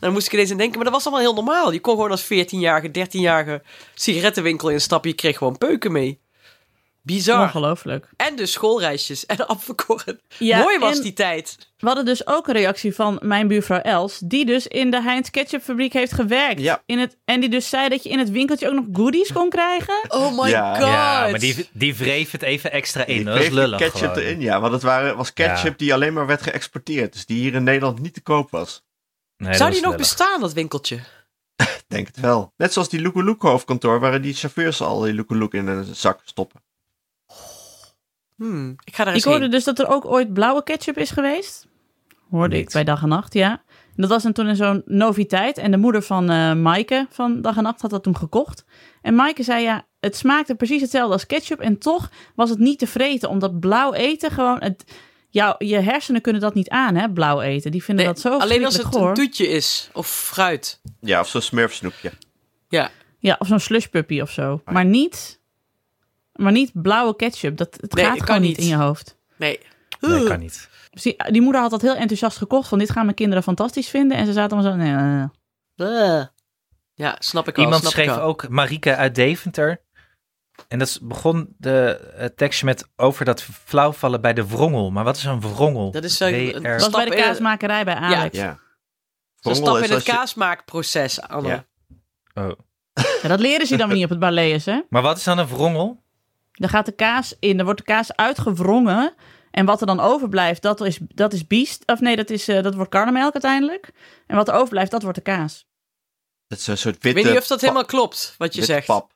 [SPEAKER 4] Dan moest ik ineens aan denken, maar dat was allemaal heel normaal. Je kon gewoon als 14-jarige, 13-jarige sigarettenwinkel instappen. Je kreeg gewoon peuken mee. Bizar.
[SPEAKER 2] Ongelooflijk.
[SPEAKER 4] En dus schoolreisjes en afverkoren.
[SPEAKER 2] Ja,
[SPEAKER 4] Mooi was
[SPEAKER 2] en-
[SPEAKER 4] die tijd.
[SPEAKER 2] We hadden dus ook een reactie van mijn buurvrouw Els, die dus in de Heinz Ketchupfabriek heeft gewerkt.
[SPEAKER 3] Ja.
[SPEAKER 2] In het, en die dus zei dat je in het winkeltje ook nog goodies kon krijgen.
[SPEAKER 4] Oh my
[SPEAKER 3] Ja.
[SPEAKER 4] god.
[SPEAKER 5] Ja, maar die, die wreef het even extra in.
[SPEAKER 3] Ik
[SPEAKER 5] Dat is
[SPEAKER 3] kreeg die
[SPEAKER 5] lullig
[SPEAKER 3] ketchup
[SPEAKER 5] gewoon.
[SPEAKER 3] erin, ja. Want het waren, was ketchup
[SPEAKER 5] Ja.
[SPEAKER 3] die alleen maar werd geëxporteerd. Dus die hier in Nederland niet te koop was.
[SPEAKER 5] Nee, dat
[SPEAKER 4] Zou
[SPEAKER 5] was
[SPEAKER 4] die nog
[SPEAKER 5] lullig.
[SPEAKER 4] bestaan, dat winkeltje?
[SPEAKER 3] Ik Denk het wel. Net zoals die Loekoe Loek hoofdkantoor, waar die chauffeurs al die Loekoe Loek in een zak stoppen.
[SPEAKER 4] Hmm, ik ga daar
[SPEAKER 2] Ik
[SPEAKER 4] eens
[SPEAKER 2] hoorde
[SPEAKER 4] heen.
[SPEAKER 2] dus dat er ook ooit blauwe ketchup is geweest. Hoorde ik
[SPEAKER 5] Niet.
[SPEAKER 2] bij Dag en Nacht, ja. En Dat was dan toen in zo'n noviteit. En de moeder van eh Maaike van Dag en Nacht had dat toen gekocht. En Maaike zei ja, het smaakte precies hetzelfde als ketchup. En toch was het niet te vreten, omdat blauw eten gewoon... Het, jou, je hersenen kunnen dat niet aan, hè, blauw eten. Die vinden
[SPEAKER 4] Nee,
[SPEAKER 2] dat zo
[SPEAKER 4] Alleen als het
[SPEAKER 2] verschrikkelijk goor.
[SPEAKER 4] een toetje is of fruit.
[SPEAKER 3] Ja, of zo'n smurfsnoepje.
[SPEAKER 4] Ja.
[SPEAKER 2] Ja, of zo'n slushpuppy of zo. Maar niet, maar niet blauwe ketchup. Dat, het
[SPEAKER 4] Nee,
[SPEAKER 2] gaat
[SPEAKER 4] het
[SPEAKER 2] gewoon
[SPEAKER 4] kan
[SPEAKER 2] niet
[SPEAKER 4] niet.
[SPEAKER 2] in je hoofd.
[SPEAKER 4] Nee.
[SPEAKER 5] Nee, kan niet.
[SPEAKER 2] Zie, Die moeder had dat heel enthousiast gekocht. Van dit gaan mijn kinderen fantastisch vinden. En ze zaten allemaal zo... Nee, nee, nee.
[SPEAKER 4] Bleh. Ja, snap ik wel.
[SPEAKER 5] Iemand
[SPEAKER 4] snap ik
[SPEAKER 5] schreef
[SPEAKER 4] wel.
[SPEAKER 5] ook Marieke uit Deventer. En dat is- begon de eh, tekstje met over dat flauwvallen bij de wrongel. Maar wat is een wrongel?
[SPEAKER 4] Dat is zo-
[SPEAKER 5] WR.
[SPEAKER 4] een-
[SPEAKER 2] Dat was bij
[SPEAKER 4] Stap
[SPEAKER 2] de
[SPEAKER 4] in-
[SPEAKER 2] kaasmakerij bij Alex. Ja.
[SPEAKER 3] Ja.
[SPEAKER 4] Zo'n
[SPEAKER 3] Rommel
[SPEAKER 4] stap
[SPEAKER 3] is
[SPEAKER 4] in het
[SPEAKER 3] als je-
[SPEAKER 4] kaasmaakproces, Anne.
[SPEAKER 3] Ja.
[SPEAKER 5] Oh.
[SPEAKER 2] dat leren ze dan weer niet op het ballet, hè?
[SPEAKER 5] Maar wat is dan een wrongel?
[SPEAKER 2] Daar gaat de kaas in. Daar wordt de kaas uitgewrongen. En wat er dan overblijft, dat is, dat is biest. Of nee, dat, is, eh, dat wordt karnemelk uiteindelijk. En wat er overblijft, dat wordt de kaas.
[SPEAKER 3] Het is een soort
[SPEAKER 4] Ik
[SPEAKER 3] witte
[SPEAKER 4] weet niet of dat
[SPEAKER 3] eh, pap-
[SPEAKER 4] helemaal klopt, wat je
[SPEAKER 3] witte
[SPEAKER 4] zegt.
[SPEAKER 3] pap.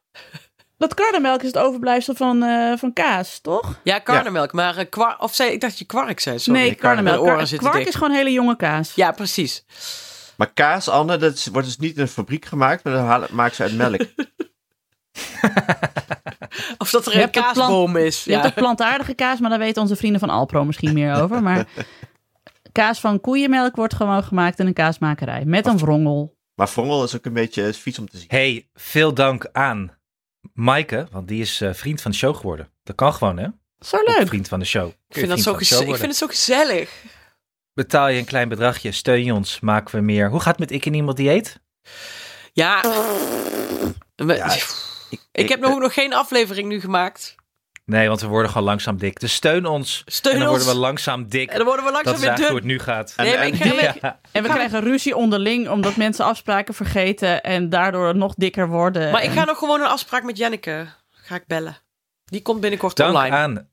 [SPEAKER 2] Dat karnemelk is het overblijfsel van, eh, van kaas, toch?
[SPEAKER 4] Ja, karnemelk. Maar eh, kwa- of zei, ik dacht dat je kwark zei. Sorry.
[SPEAKER 2] nee, karnemelk.
[SPEAKER 4] Mijn
[SPEAKER 2] Kar-
[SPEAKER 4] oren zitten
[SPEAKER 2] kwark
[SPEAKER 4] dicht.
[SPEAKER 2] is gewoon hele jonge kaas.
[SPEAKER 4] Ja, precies.
[SPEAKER 3] Maar kaas, Anne, dat is- wordt dus niet in een fabriek gemaakt, maar dat halen- maken ze uit melk.
[SPEAKER 4] Of dat er
[SPEAKER 2] Je
[SPEAKER 4] een
[SPEAKER 2] hebt het plan-
[SPEAKER 4] kaasboom is.
[SPEAKER 2] Je hebt
[SPEAKER 4] Ja.
[SPEAKER 2] ook plantaardige kaas, maar daar weten onze vrienden van Alpro misschien meer over. Maar kaas van koeienmelk wordt gewoon gemaakt in een kaasmakerij. Met een wrongel.
[SPEAKER 3] maar Vrongel is ook een beetje vies om te zien.
[SPEAKER 5] hey, veel dank aan Maaike, want die is eh, vriend van de show geworden. Dat kan gewoon, hè?
[SPEAKER 2] Zo
[SPEAKER 5] Op
[SPEAKER 2] leuk.
[SPEAKER 5] vriend van de show. Kun
[SPEAKER 4] Ik
[SPEAKER 5] je
[SPEAKER 4] vind, dat
[SPEAKER 5] vriend
[SPEAKER 4] zo
[SPEAKER 5] van de
[SPEAKER 4] gez-
[SPEAKER 5] show
[SPEAKER 4] ik
[SPEAKER 5] worden.
[SPEAKER 4] vind het zo gezellig.
[SPEAKER 5] Betaal je een klein bedragje, steun je ons, maken we meer. Hoe gaat het met Ik en Iemand Dieet?
[SPEAKER 4] Ja. Maar-
[SPEAKER 3] Ja,
[SPEAKER 4] ik,
[SPEAKER 3] Ik,
[SPEAKER 4] heb nog, ook nog geen aflevering nu gemaakt.
[SPEAKER 5] Nee, want we worden gewoon langzaam dik. Dus steun ons.
[SPEAKER 4] Steun
[SPEAKER 5] en dan
[SPEAKER 4] ons.
[SPEAKER 5] worden we langzaam dik.
[SPEAKER 4] En dan worden we
[SPEAKER 5] dat
[SPEAKER 4] langzaam
[SPEAKER 5] is
[SPEAKER 4] weer
[SPEAKER 5] eigenlijk
[SPEAKER 4] dun.
[SPEAKER 5] hoe het nu gaat.
[SPEAKER 4] Nee, maar
[SPEAKER 3] En-
[SPEAKER 4] ik,
[SPEAKER 3] en-
[SPEAKER 4] ga-
[SPEAKER 5] Ja.
[SPEAKER 2] En we krijgen ruzie onderling omdat mensen afspraken vergeten en daardoor nog dikker worden.
[SPEAKER 4] maar ik
[SPEAKER 2] En-
[SPEAKER 4] ga nog gewoon een afspraak met Janneke. Ga ik bellen. Die komt binnenkort
[SPEAKER 5] Dank
[SPEAKER 4] online.
[SPEAKER 5] aan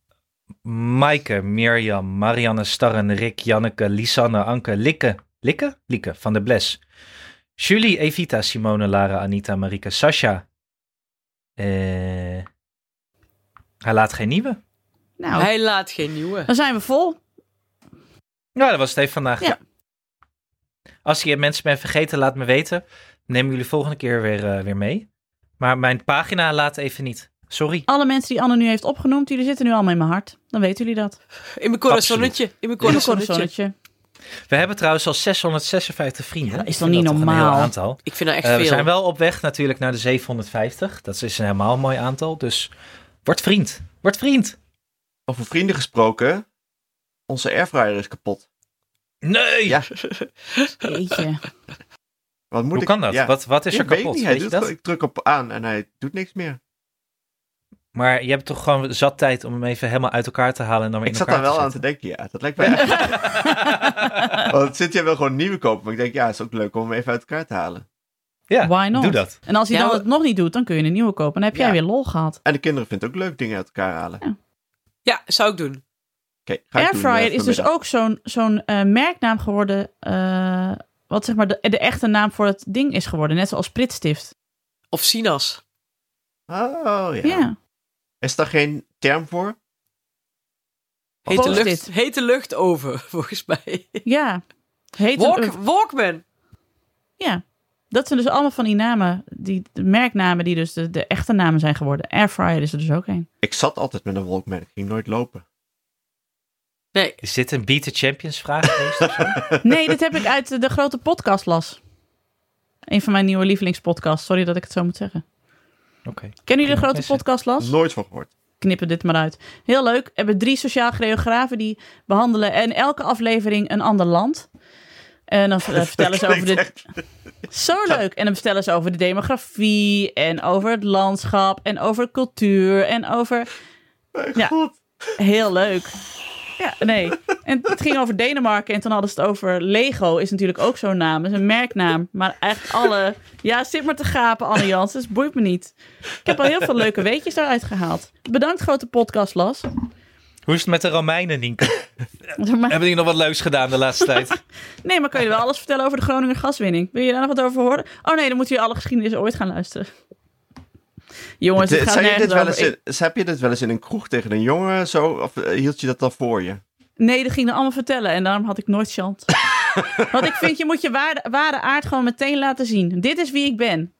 [SPEAKER 5] Maaike, Mirjam, Marianne, Starren, Rick, Janneke, Lisanne, Anke, Likke. Likke? Likke van de Bles. Julie, Evita, Simone, Lara, Anita, Marike, Sasha. Eh, hij laat geen nieuwe.
[SPEAKER 2] Nou,
[SPEAKER 4] Hij laat geen nieuwe.
[SPEAKER 2] dan zijn we vol.
[SPEAKER 5] Nou, dat was het even vandaag.
[SPEAKER 2] Ja.
[SPEAKER 5] Als je mensen bent vergeten, laat me weten. Neem jullie volgende keer weer, eh, weer mee. Maar mijn pagina laat even niet. Sorry.
[SPEAKER 2] Alle mensen die Anne nu heeft opgenoemd, jullie zitten nu allemaal in mijn hart. Dan weten jullie dat.
[SPEAKER 4] In mijn corazonnetje. In mijn corazonnetje.
[SPEAKER 2] Zonnetje.
[SPEAKER 5] We hebben trouwens al 656 vrienden.
[SPEAKER 2] dat is
[SPEAKER 5] Ik
[SPEAKER 2] toch
[SPEAKER 5] vind
[SPEAKER 2] niet
[SPEAKER 5] toch een heel
[SPEAKER 2] normaal?
[SPEAKER 5] aantal.
[SPEAKER 4] Ik vind dat echt
[SPEAKER 5] Eh,
[SPEAKER 4] veel.
[SPEAKER 5] we zijn wel op weg natuurlijk naar de 750. Dat is een helemaal mooi aantal. Dus word vriend. Word vriend.
[SPEAKER 3] Over vrienden gesproken, onze airfryer is kapot.
[SPEAKER 5] Nee!
[SPEAKER 3] Ja,
[SPEAKER 2] Jeetje.
[SPEAKER 3] Wat moet
[SPEAKER 5] Hoe
[SPEAKER 3] ik,
[SPEAKER 5] kan dat?
[SPEAKER 3] Ja.
[SPEAKER 5] Wat, wat is
[SPEAKER 3] Ik
[SPEAKER 5] er
[SPEAKER 3] weet
[SPEAKER 5] kapot?
[SPEAKER 3] niet, hij
[SPEAKER 5] weet je
[SPEAKER 3] doet
[SPEAKER 5] dat?
[SPEAKER 3] gewoon- Ik druk op aan en hij doet niks meer.
[SPEAKER 5] Maar je hebt toch gewoon zat tijd om hem even helemaal uit elkaar te halen en dan weer
[SPEAKER 3] ik
[SPEAKER 5] in
[SPEAKER 3] zat daar
[SPEAKER 5] elkaar
[SPEAKER 3] wel aan
[SPEAKER 5] te
[SPEAKER 3] te denken, ja. Dat lijkt mij echt... Want zit jij wel gewoon nieuwe kopen. Maar ik denk, ja, het is ook leuk om hem even uit elkaar te halen.
[SPEAKER 5] zetten. Ja,
[SPEAKER 2] Why not?
[SPEAKER 5] doe dat.
[SPEAKER 2] En als hij
[SPEAKER 4] Ja,
[SPEAKER 2] dan
[SPEAKER 4] we-
[SPEAKER 2] het nog niet doet, dan kun je een nieuwe kopen. Dan heb jij
[SPEAKER 3] Ja.
[SPEAKER 2] weer lol gehad.
[SPEAKER 3] En de kinderen vinden het ook leuk dingen uit elkaar halen.
[SPEAKER 4] Ja, zou ik doen.
[SPEAKER 3] Oké, ga ik doen, eh,
[SPEAKER 2] Airfryer is dus
[SPEAKER 3] vanmiddag.
[SPEAKER 2] ook zo'n zo'n eh, merknaam geworden. eh, wat zeg maar de, de echte naam voor het ding is geworden. Net zoals pritstift.
[SPEAKER 4] Of Sinas.
[SPEAKER 3] Oh, ja.
[SPEAKER 2] Ja.
[SPEAKER 3] Is daar geen term voor?
[SPEAKER 4] Hete
[SPEAKER 2] Post-it.
[SPEAKER 4] lucht, hete lucht over, volgens mij.
[SPEAKER 2] Ja. Heet
[SPEAKER 4] Walk,
[SPEAKER 2] een-
[SPEAKER 4] Walkman.
[SPEAKER 2] ja. Dat zijn dus allemaal van die namen. Die de merknamen die dus de, de echte namen zijn geworden. Airfryer is er dus ook een.
[SPEAKER 3] Ik zat altijd met een Walkman. Ik ging nooit lopen.
[SPEAKER 4] Nee,
[SPEAKER 5] Is dit een Beat the Champions vraag geweest? of zo?
[SPEAKER 2] Nee, dit heb ik uit de, de grote podcast las. Een van mijn nieuwe lievelingspodcasts. Sorry dat ik het zo moet zeggen.
[SPEAKER 5] Oké.
[SPEAKER 2] Kennen jullie de
[SPEAKER 5] Prima.
[SPEAKER 2] grote podcast las?
[SPEAKER 3] Nooit van gehoord.
[SPEAKER 2] knippen dit maar uit. Heel leuk. Hebben drie sociaal geografen die behandelen en elke aflevering een ander land. En dan eh, vertellen ze over
[SPEAKER 3] Klinkt
[SPEAKER 2] de.
[SPEAKER 3] echt-
[SPEAKER 2] Zo leuk. En dan vertellen ze over de demografie. En over het landschap. En over cultuur. En over.
[SPEAKER 3] Mijn
[SPEAKER 2] Ja.
[SPEAKER 3] god.
[SPEAKER 2] Heel leuk. Ja, nee. En het ging over Denemarken. En toen hadden ze het over Lego. Is natuurlijk ook zo'n naam. Is een merknaam. Maar eigenlijk alle. Ja, zit maar te gapen, Anne Jans. Dus boeit me niet. Ik heb al heel veel leuke weetjes daaruit gehaald. Bedankt, grote podcast, Las.
[SPEAKER 5] Hoe is het met de Romeinen, Nienke? Hebben die nog wat leuks gedaan de laatste tijd?
[SPEAKER 2] Nee, maar kan je wel alles vertellen over de Groninger gaswinning? Wil je daar nog wat over horen? Oh nee, dan moeten jullie alle geschiedenis ooit gaan luisteren. Jongens, het
[SPEAKER 3] Dit-
[SPEAKER 2] gaat
[SPEAKER 3] zei je
[SPEAKER 2] nergens
[SPEAKER 3] dit wel eens
[SPEAKER 2] over.
[SPEAKER 3] in- Heb je dit wel eens in een kroeg tegen een jongen? Zo, of eh, hield je dat dan voor je?
[SPEAKER 2] Ik- nee, dat ging er allemaal vertellen en daarom had ik nooit chant. Want ik vind, je moet je waarde, ware aard gewoon meteen laten zien. Dit is wie ik ben.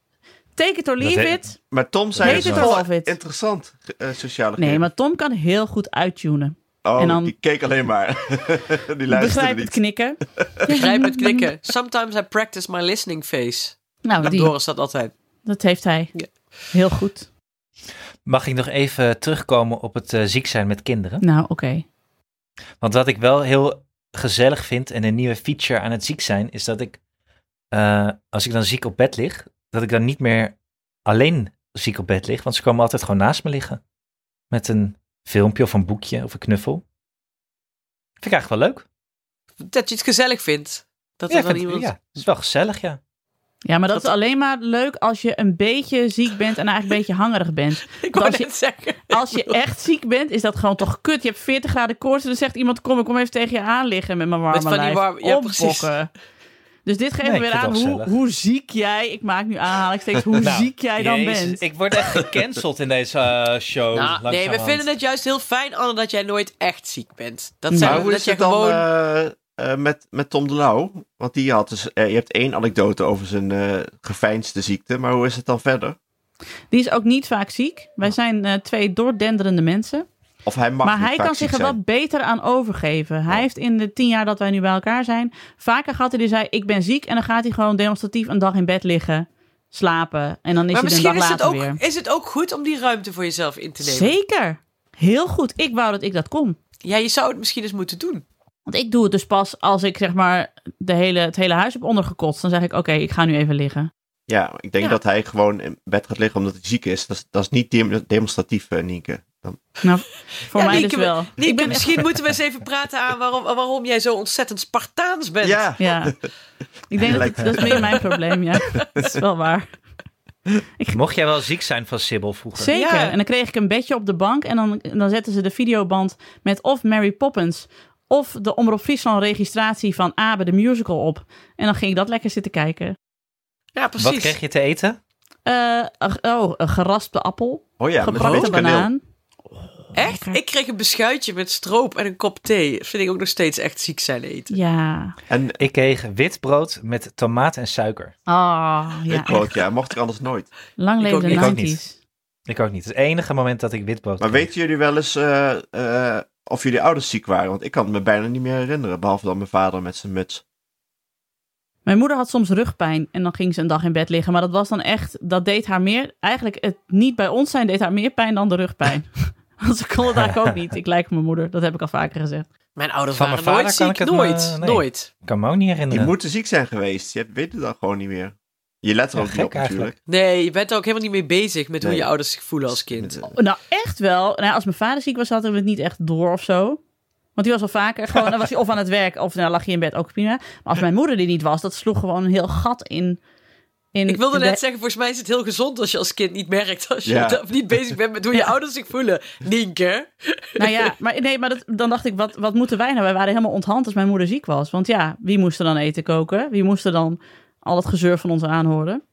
[SPEAKER 2] Take it or leave
[SPEAKER 5] Dat he-
[SPEAKER 2] it.
[SPEAKER 3] Maar Tom zei
[SPEAKER 2] Heet
[SPEAKER 3] het
[SPEAKER 2] het
[SPEAKER 3] wel
[SPEAKER 2] al of het?
[SPEAKER 3] interessant, eh, sociale
[SPEAKER 2] Nee,
[SPEAKER 3] gif.
[SPEAKER 2] maar Tom kan heel goed uittunen.
[SPEAKER 3] Oh,
[SPEAKER 2] en dan-
[SPEAKER 3] die keek alleen maar. die luisterde
[SPEAKER 2] Begrijp het
[SPEAKER 3] niet.
[SPEAKER 2] knikken.
[SPEAKER 4] begrijp het knikken. Sometimes I practice my listening face.
[SPEAKER 2] Nou, die,
[SPEAKER 4] Doris dat altijd.
[SPEAKER 2] dat heeft hij.
[SPEAKER 4] Ja.
[SPEAKER 2] Heel goed.
[SPEAKER 5] Mag ik nog even terugkomen op het eh, ziek zijn met kinderen?
[SPEAKER 2] Nou, oké.
[SPEAKER 5] Want wat ik wel heel gezellig vind en een nieuwe feature aan het ziek zijn, is dat ik, eh, als ik dan ziek op bed lig, dat ik dan niet meer alleen ziek op bed lig, want ze komen altijd gewoon naast me liggen. Met een filmpje of een boekje of een knuffel. Vind ik eigenlijk wel leuk.
[SPEAKER 4] Dat je het gezellig vindt. Dat
[SPEAKER 5] ja,
[SPEAKER 4] er dan
[SPEAKER 5] vind-
[SPEAKER 4] iemand...
[SPEAKER 5] ja, het is wel gezellig, ja.
[SPEAKER 2] Ja, maar dat, is alleen maar leuk als je een beetje ziek bent en eigenlijk een beetje hangerig bent.
[SPEAKER 4] Ik
[SPEAKER 2] wou
[SPEAKER 4] wou
[SPEAKER 2] Als je-
[SPEAKER 4] net
[SPEAKER 2] net
[SPEAKER 4] zeggen.
[SPEAKER 2] Als je echt ziek bent, is dat gewoon toch kut. Je hebt 40 graden koorts en dan zegt iemand... kom, ik kom even tegen je aan liggen met mijn warme
[SPEAKER 4] Met van die
[SPEAKER 2] lijf.
[SPEAKER 4] warme- ja, precies.
[SPEAKER 2] Opbokken. Dus dit geeft
[SPEAKER 5] Nee,
[SPEAKER 2] weer
[SPEAKER 5] ik vind
[SPEAKER 2] aan
[SPEAKER 5] het wel
[SPEAKER 2] hoe,
[SPEAKER 5] gezellig.
[SPEAKER 2] hoe ziek jij... Ik maak nu aanhalingstekens hoe
[SPEAKER 5] Nou,
[SPEAKER 2] ziek jij dan
[SPEAKER 5] Jezus,
[SPEAKER 2] bent. Nou,
[SPEAKER 5] Ik word echt gecanceld in deze eh,
[SPEAKER 4] Nou,
[SPEAKER 5] show.
[SPEAKER 4] nee, we
[SPEAKER 5] langzamerhand.
[SPEAKER 4] vinden het juist heel fijn, Anne, dat jij nooit echt ziek bent. Dat
[SPEAKER 2] Nou,
[SPEAKER 4] zijn
[SPEAKER 3] Maar
[SPEAKER 4] we,
[SPEAKER 3] hoe
[SPEAKER 4] dat
[SPEAKER 3] is
[SPEAKER 4] jij
[SPEAKER 3] het dan
[SPEAKER 4] gewoon...
[SPEAKER 3] eh, eh, met, met Tom de Lauw? Want die had dus, eh, je hebt één anekdote over zijn eh geveinsde ziekte, maar hoe is het dan verder?
[SPEAKER 2] Die is ook niet vaak ziek.
[SPEAKER 4] Oh.
[SPEAKER 2] Wij zijn eh, twee doordenderende mensen.
[SPEAKER 3] Of hij mag
[SPEAKER 2] maar
[SPEAKER 3] niet
[SPEAKER 2] hij
[SPEAKER 3] vaak
[SPEAKER 2] kan
[SPEAKER 3] ziek
[SPEAKER 2] zich er
[SPEAKER 3] zijn.
[SPEAKER 2] wat beter aan overgeven. Hij heeft in de tien jaar dat wij nu bij elkaar zijn... vaker gehad hij die zei, ik ben ziek... en dan gaat hij gewoon demonstratief een dag in bed liggen... slapen. En dan is
[SPEAKER 4] maar
[SPEAKER 2] hij er een dag
[SPEAKER 4] misschien is het,
[SPEAKER 2] later
[SPEAKER 4] ook,
[SPEAKER 2] weer.
[SPEAKER 4] is het ook goed om die ruimte voor jezelf in te nemen.
[SPEAKER 2] Zeker. Heel goed. Ik wou dat ik dat kon.
[SPEAKER 4] Ja, je zou het misschien eens moeten doen.
[SPEAKER 2] Want ik doe het dus pas als ik zeg maar de hele, het hele huis heb ondergekotst. Dan zeg ik, oké, ik ga nu even liggen.
[SPEAKER 3] Ja, ik denk
[SPEAKER 4] Ja.
[SPEAKER 3] dat hij gewoon in bed gaat liggen omdat hij ziek is. Dat is, dat is niet dem- demonstratief, eh, Nienke. Dan-
[SPEAKER 2] Nou, voor
[SPEAKER 4] Ja,
[SPEAKER 2] mij
[SPEAKER 4] Nienke,
[SPEAKER 2] dus wel.
[SPEAKER 4] Nienke,
[SPEAKER 2] ik ben echt-
[SPEAKER 4] misschien moeten we eens even praten aan waarom, waarom jij zo ontzettend Spartaans bent.
[SPEAKER 3] ja,
[SPEAKER 2] Ja. Ik denk dat het- dat is meer mijn probleem, ja. Dat is wel waar.
[SPEAKER 5] Mocht jij wel ziek zijn van Sibyl vroeger?
[SPEAKER 2] Zeker.
[SPEAKER 4] Ja.
[SPEAKER 2] En dan kreeg ik een bedje op de bank. En dan, dan zetten ze de videoband met of Mary Poppins... of de Omroep Friesland registratie van Abe de Musical op. En dan ging ik dat lekker zitten kijken.
[SPEAKER 4] Ja,
[SPEAKER 5] Wat
[SPEAKER 4] precies.
[SPEAKER 5] kreeg je te eten?
[SPEAKER 2] Eh, oh, een geraspte appel.
[SPEAKER 3] oh ja, met
[SPEAKER 2] gebrande
[SPEAKER 3] witte kaneel.
[SPEAKER 2] banaan.
[SPEAKER 4] Echt?
[SPEAKER 2] Lekker.
[SPEAKER 4] Ik kreeg een beschuitje met stroop en een kop thee. Dat vind ik ook nog steeds echt ziek zijn eten.
[SPEAKER 2] Ja.
[SPEAKER 3] En
[SPEAKER 5] Ik kreeg wit brood met tomaat en suiker.
[SPEAKER 2] Ah, ja.
[SPEAKER 3] ja, brood, ja, mocht ik anders nooit.
[SPEAKER 2] Lang
[SPEAKER 4] Ik ook
[SPEAKER 2] leven
[SPEAKER 4] niet.
[SPEAKER 2] de
[SPEAKER 5] Ik ook
[SPEAKER 2] 90s.
[SPEAKER 5] Ik ook niet. Het enige moment dat ik wit brood
[SPEAKER 3] Maar
[SPEAKER 5] kreeg.
[SPEAKER 3] weten jullie wel eens eh, eh, of jullie ouders ziek waren? Want ik kan het me bijna niet meer herinneren, behalve dan mijn vader met zijn muts.
[SPEAKER 2] Mijn moeder had soms rugpijn en dan ging ze een dag in bed liggen. Maar dat was dan echt, dat deed haar meer, eigenlijk het niet bij ons zijn deed haar meer pijn dan de rugpijn. Want ze kon het eigenlijk ook niet. Ik lijk op mijn moeder, dat heb ik al vaker gezegd.
[SPEAKER 4] Mijn ouders
[SPEAKER 5] Van
[SPEAKER 4] waren
[SPEAKER 5] mijn
[SPEAKER 4] nooit
[SPEAKER 5] vader kan
[SPEAKER 4] ziek.
[SPEAKER 5] ik het me-
[SPEAKER 4] Nooit,
[SPEAKER 5] nee.
[SPEAKER 4] nooit.
[SPEAKER 5] Ik kan me ook niet
[SPEAKER 3] Je
[SPEAKER 5] herinneren.
[SPEAKER 3] moet ziek zijn geweest. Je weet het dan gewoon niet meer. Je let er
[SPEAKER 5] Ja,
[SPEAKER 3] ook niet
[SPEAKER 5] gek
[SPEAKER 3] op natuurlijk.
[SPEAKER 4] Nee, je bent er ook helemaal niet mee bezig met hoe
[SPEAKER 3] Nee.
[SPEAKER 4] je ouders zich voelen als kind.
[SPEAKER 3] Met, eh,
[SPEAKER 2] Nou, echt wel. Nou, ja, als mijn vader ziek was, hadden we het niet echt door of zo. Want die was al vaker gewoon, dan was hij of aan het werk of nou, lag hij in bed, ook prima. Maar als mijn moeder die niet was, dat sloeg gewoon een heel gat in. in
[SPEAKER 4] Ik wilde
[SPEAKER 2] de-
[SPEAKER 4] net zeggen, volgens mij is het heel gezond als je als kind niet merkt. Als je
[SPEAKER 3] Ja.
[SPEAKER 4] dat- niet bezig bent met hoe je ouders zich voelen. Nienke.
[SPEAKER 2] Nou ja, maar, nee, maar dat, dan dacht ik, wat, wat moeten wij nou? Wij waren helemaal onthand als mijn moeder ziek was. Want ja, wie moest er dan eten koken? Wie moest er dan al het gezeur van ons aanhoren?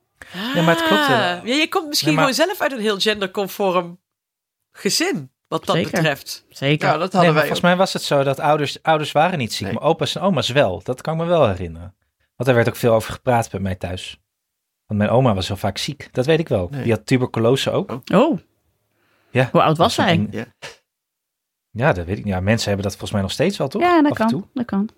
[SPEAKER 5] Ja, maar het klopt wel.
[SPEAKER 4] Ah, ja, je komt misschien
[SPEAKER 5] Nee, maar-
[SPEAKER 4] gewoon zelf uit een heel genderconform gezin. Wat dat
[SPEAKER 2] Zeker.
[SPEAKER 4] betreft.
[SPEAKER 2] Zeker.
[SPEAKER 3] Ja, dat
[SPEAKER 5] Nee, maar
[SPEAKER 3] hadden wij.
[SPEAKER 5] volgens mij was het zo dat ouders, ouders waren niet ziek,
[SPEAKER 3] Nee.
[SPEAKER 5] maar opa's en oma's wel. Dat kan ik me wel herinneren. Want daar werd ook veel over gepraat bij mij thuis. Want mijn oma was heel vaak ziek. Dat weet ik wel.
[SPEAKER 3] Nee.
[SPEAKER 5] Die had tuberculose ook.
[SPEAKER 3] Oh,
[SPEAKER 2] Oh,
[SPEAKER 5] Ja.
[SPEAKER 2] hoe oud was zij?
[SPEAKER 5] Ja.
[SPEAKER 3] Ja.
[SPEAKER 5] ja, dat weet ik niet. Ja, mensen hebben dat volgens mij nog steeds wel, toch?
[SPEAKER 2] Ja, dat
[SPEAKER 5] Af en toe.
[SPEAKER 2] kan, dat kan.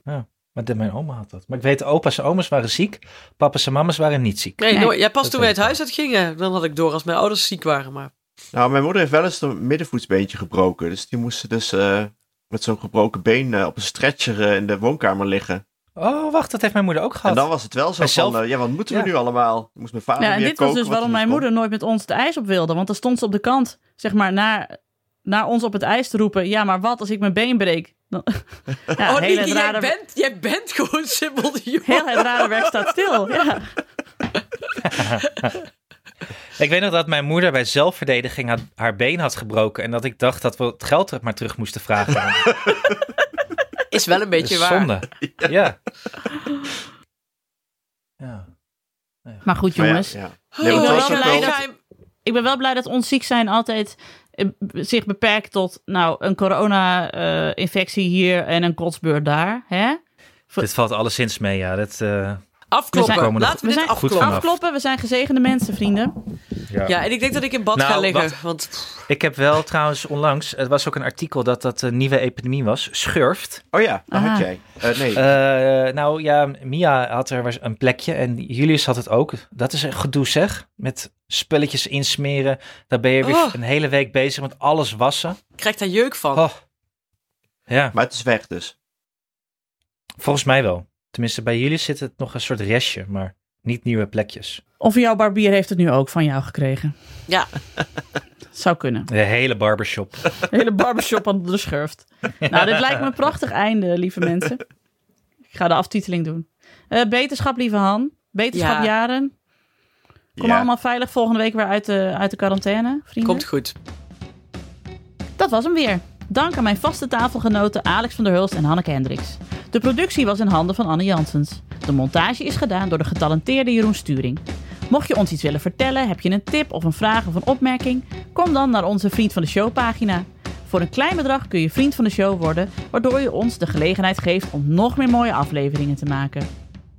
[SPEAKER 5] Maar de- mijn oma had dat. Maar ik weet, opa's en oma's waren ziek. Papa's en mama's waren niet ziek.
[SPEAKER 4] Nee,
[SPEAKER 2] Nee.
[SPEAKER 4] nooit. Ja, pas
[SPEAKER 5] Dat
[SPEAKER 4] toen wij
[SPEAKER 5] weet
[SPEAKER 4] het huis uitgingen, dan had ik door als mijn ouders ziek waren. Maar
[SPEAKER 3] Nou, mijn moeder heeft wel eens een middenvoetsbeentje gebroken. Dus die moesten dus eh, met zo'n gebroken been eh, op een stretcher eh, in de woonkamer liggen.
[SPEAKER 5] Oh, wacht, dat heeft mijn moeder ook gehad.
[SPEAKER 3] En dan was het wel zo
[SPEAKER 5] En zelf-
[SPEAKER 3] van, eh, ja, wat moeten we
[SPEAKER 5] Ja.
[SPEAKER 3] nu allemaal? Moest mijn vader
[SPEAKER 2] Ja, en
[SPEAKER 3] weer
[SPEAKER 2] dit was
[SPEAKER 3] koken,
[SPEAKER 2] dus
[SPEAKER 3] wat
[SPEAKER 2] waarom
[SPEAKER 3] hij
[SPEAKER 2] mijn
[SPEAKER 3] moest
[SPEAKER 2] moeder nooit met ons het ijs op wilde. Want dan stond ze op de kant, zeg maar, naar, naar ons op het ijs te roepen. Ja, maar wat als ik mijn been breek? Dan, ja,
[SPEAKER 4] oh,
[SPEAKER 2] heel,
[SPEAKER 4] Nienke,
[SPEAKER 2] het
[SPEAKER 4] jij,
[SPEAKER 2] rare,
[SPEAKER 4] bent, jij bent gewoon simpel de jongen.
[SPEAKER 2] heel het rare werk staat stil. Ja.
[SPEAKER 5] Ik weet nog dat mijn moeder bij zelfverdediging had- haar been had gebroken. En dat ik dacht dat we het geld er maar terug moesten vragen. aan haar.
[SPEAKER 4] Is wel een beetje
[SPEAKER 5] Dat is
[SPEAKER 4] waar.
[SPEAKER 5] zonde. Ja. ja.
[SPEAKER 2] Maar goed,
[SPEAKER 3] doen. Maar ja,
[SPEAKER 2] jongens. Oh,
[SPEAKER 3] ja.
[SPEAKER 4] ik
[SPEAKER 3] Nee, want
[SPEAKER 2] wil
[SPEAKER 3] het
[SPEAKER 4] ben
[SPEAKER 3] was
[SPEAKER 4] wel
[SPEAKER 3] ook wel...
[SPEAKER 4] blij
[SPEAKER 2] dat-
[SPEAKER 4] dat hij-
[SPEAKER 2] ik ben wel blij dat ons ziek zijn altijd eh, b- zich beperkt tot nou, een corona-infectie hier en een kotsbeurt daar. Hè?
[SPEAKER 5] Dit valt alleszins mee, ja. Dat, eh,
[SPEAKER 4] Afkloppen.
[SPEAKER 2] We
[SPEAKER 5] zijn-
[SPEAKER 4] Laten we,
[SPEAKER 2] We
[SPEAKER 4] dit
[SPEAKER 2] zijn-
[SPEAKER 5] Goed
[SPEAKER 4] afkloppen.
[SPEAKER 5] vanaf.
[SPEAKER 2] Afkloppen, we zijn gezegende mensen, vrienden.
[SPEAKER 5] ja.
[SPEAKER 4] Ja, en ik denk dat ik in bad
[SPEAKER 5] Nou,
[SPEAKER 4] ga liggen.
[SPEAKER 5] wacht.
[SPEAKER 4] Want
[SPEAKER 5] Ik heb wel trouwens onlangs, er was ook een artikel dat dat een nieuwe epidemie was, schurft.
[SPEAKER 3] Oh ja, dat
[SPEAKER 2] Aha.
[SPEAKER 3] had jij. Eh, nee,
[SPEAKER 5] Ah. Eh, nou ja, Mia had er was een plekje en Julius had het ook. Dat is een gedoe zeg, met spulletjes insmeren. Dan ben je weer
[SPEAKER 4] Oh.
[SPEAKER 5] een hele week bezig met alles wassen.
[SPEAKER 4] ik krijg daar jeuk van.
[SPEAKER 5] Oh. Ja,
[SPEAKER 3] maar het is weg dus.
[SPEAKER 5] volgens mij wel. Tenminste, bij Julius zit het nog een soort restje, maar niet nieuwe plekjes.
[SPEAKER 2] Of jouw barbier heeft het nu ook van jou gekregen.
[SPEAKER 4] Ja.
[SPEAKER 2] Zou kunnen.
[SPEAKER 5] De hele barbershop.
[SPEAKER 2] De hele barbershop onder de schurft. Nou, dit lijkt me een prachtig einde, lieve mensen. Ik ga de aftiteling doen. Eh, beterschap, lieve Han. Beterschap
[SPEAKER 4] Ja.
[SPEAKER 2] jaren. Kom
[SPEAKER 3] ja.
[SPEAKER 2] allemaal veilig volgende week weer uit de, uit de quarantaine, vrienden.
[SPEAKER 4] Komt goed.
[SPEAKER 2] Dat was hem weer. Dank aan mijn vaste tafelgenoten Alex van der Hulst en Hanneke Hendricks. De productie was in handen van Anne Janssens. De montage is gedaan door de getalenteerde Jeroen Sturing. Mocht je ons iets willen vertellen, heb je een tip of een vraag of een opmerking, kom dan naar onze Vriend van de Show pagina. Voor een klein bedrag kun je Vriend van de Show worden, waardoor je ons de gelegenheid geeft om nog meer mooie afleveringen te maken.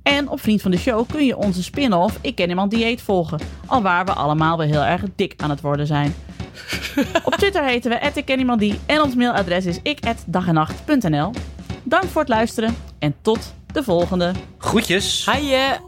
[SPEAKER 2] En op Vriend van de Show kun je onze spin-off Ik Ken Iemand Dieet volgen, alwaar we allemaal wel heel erg dik aan het worden zijn. Op Twitter heten we @ikkenniemandie en ons mailadres is ik@dagenacht.nl. Dank voor het luisteren en tot de volgende.
[SPEAKER 5] Groetjes.
[SPEAKER 4] Haaien!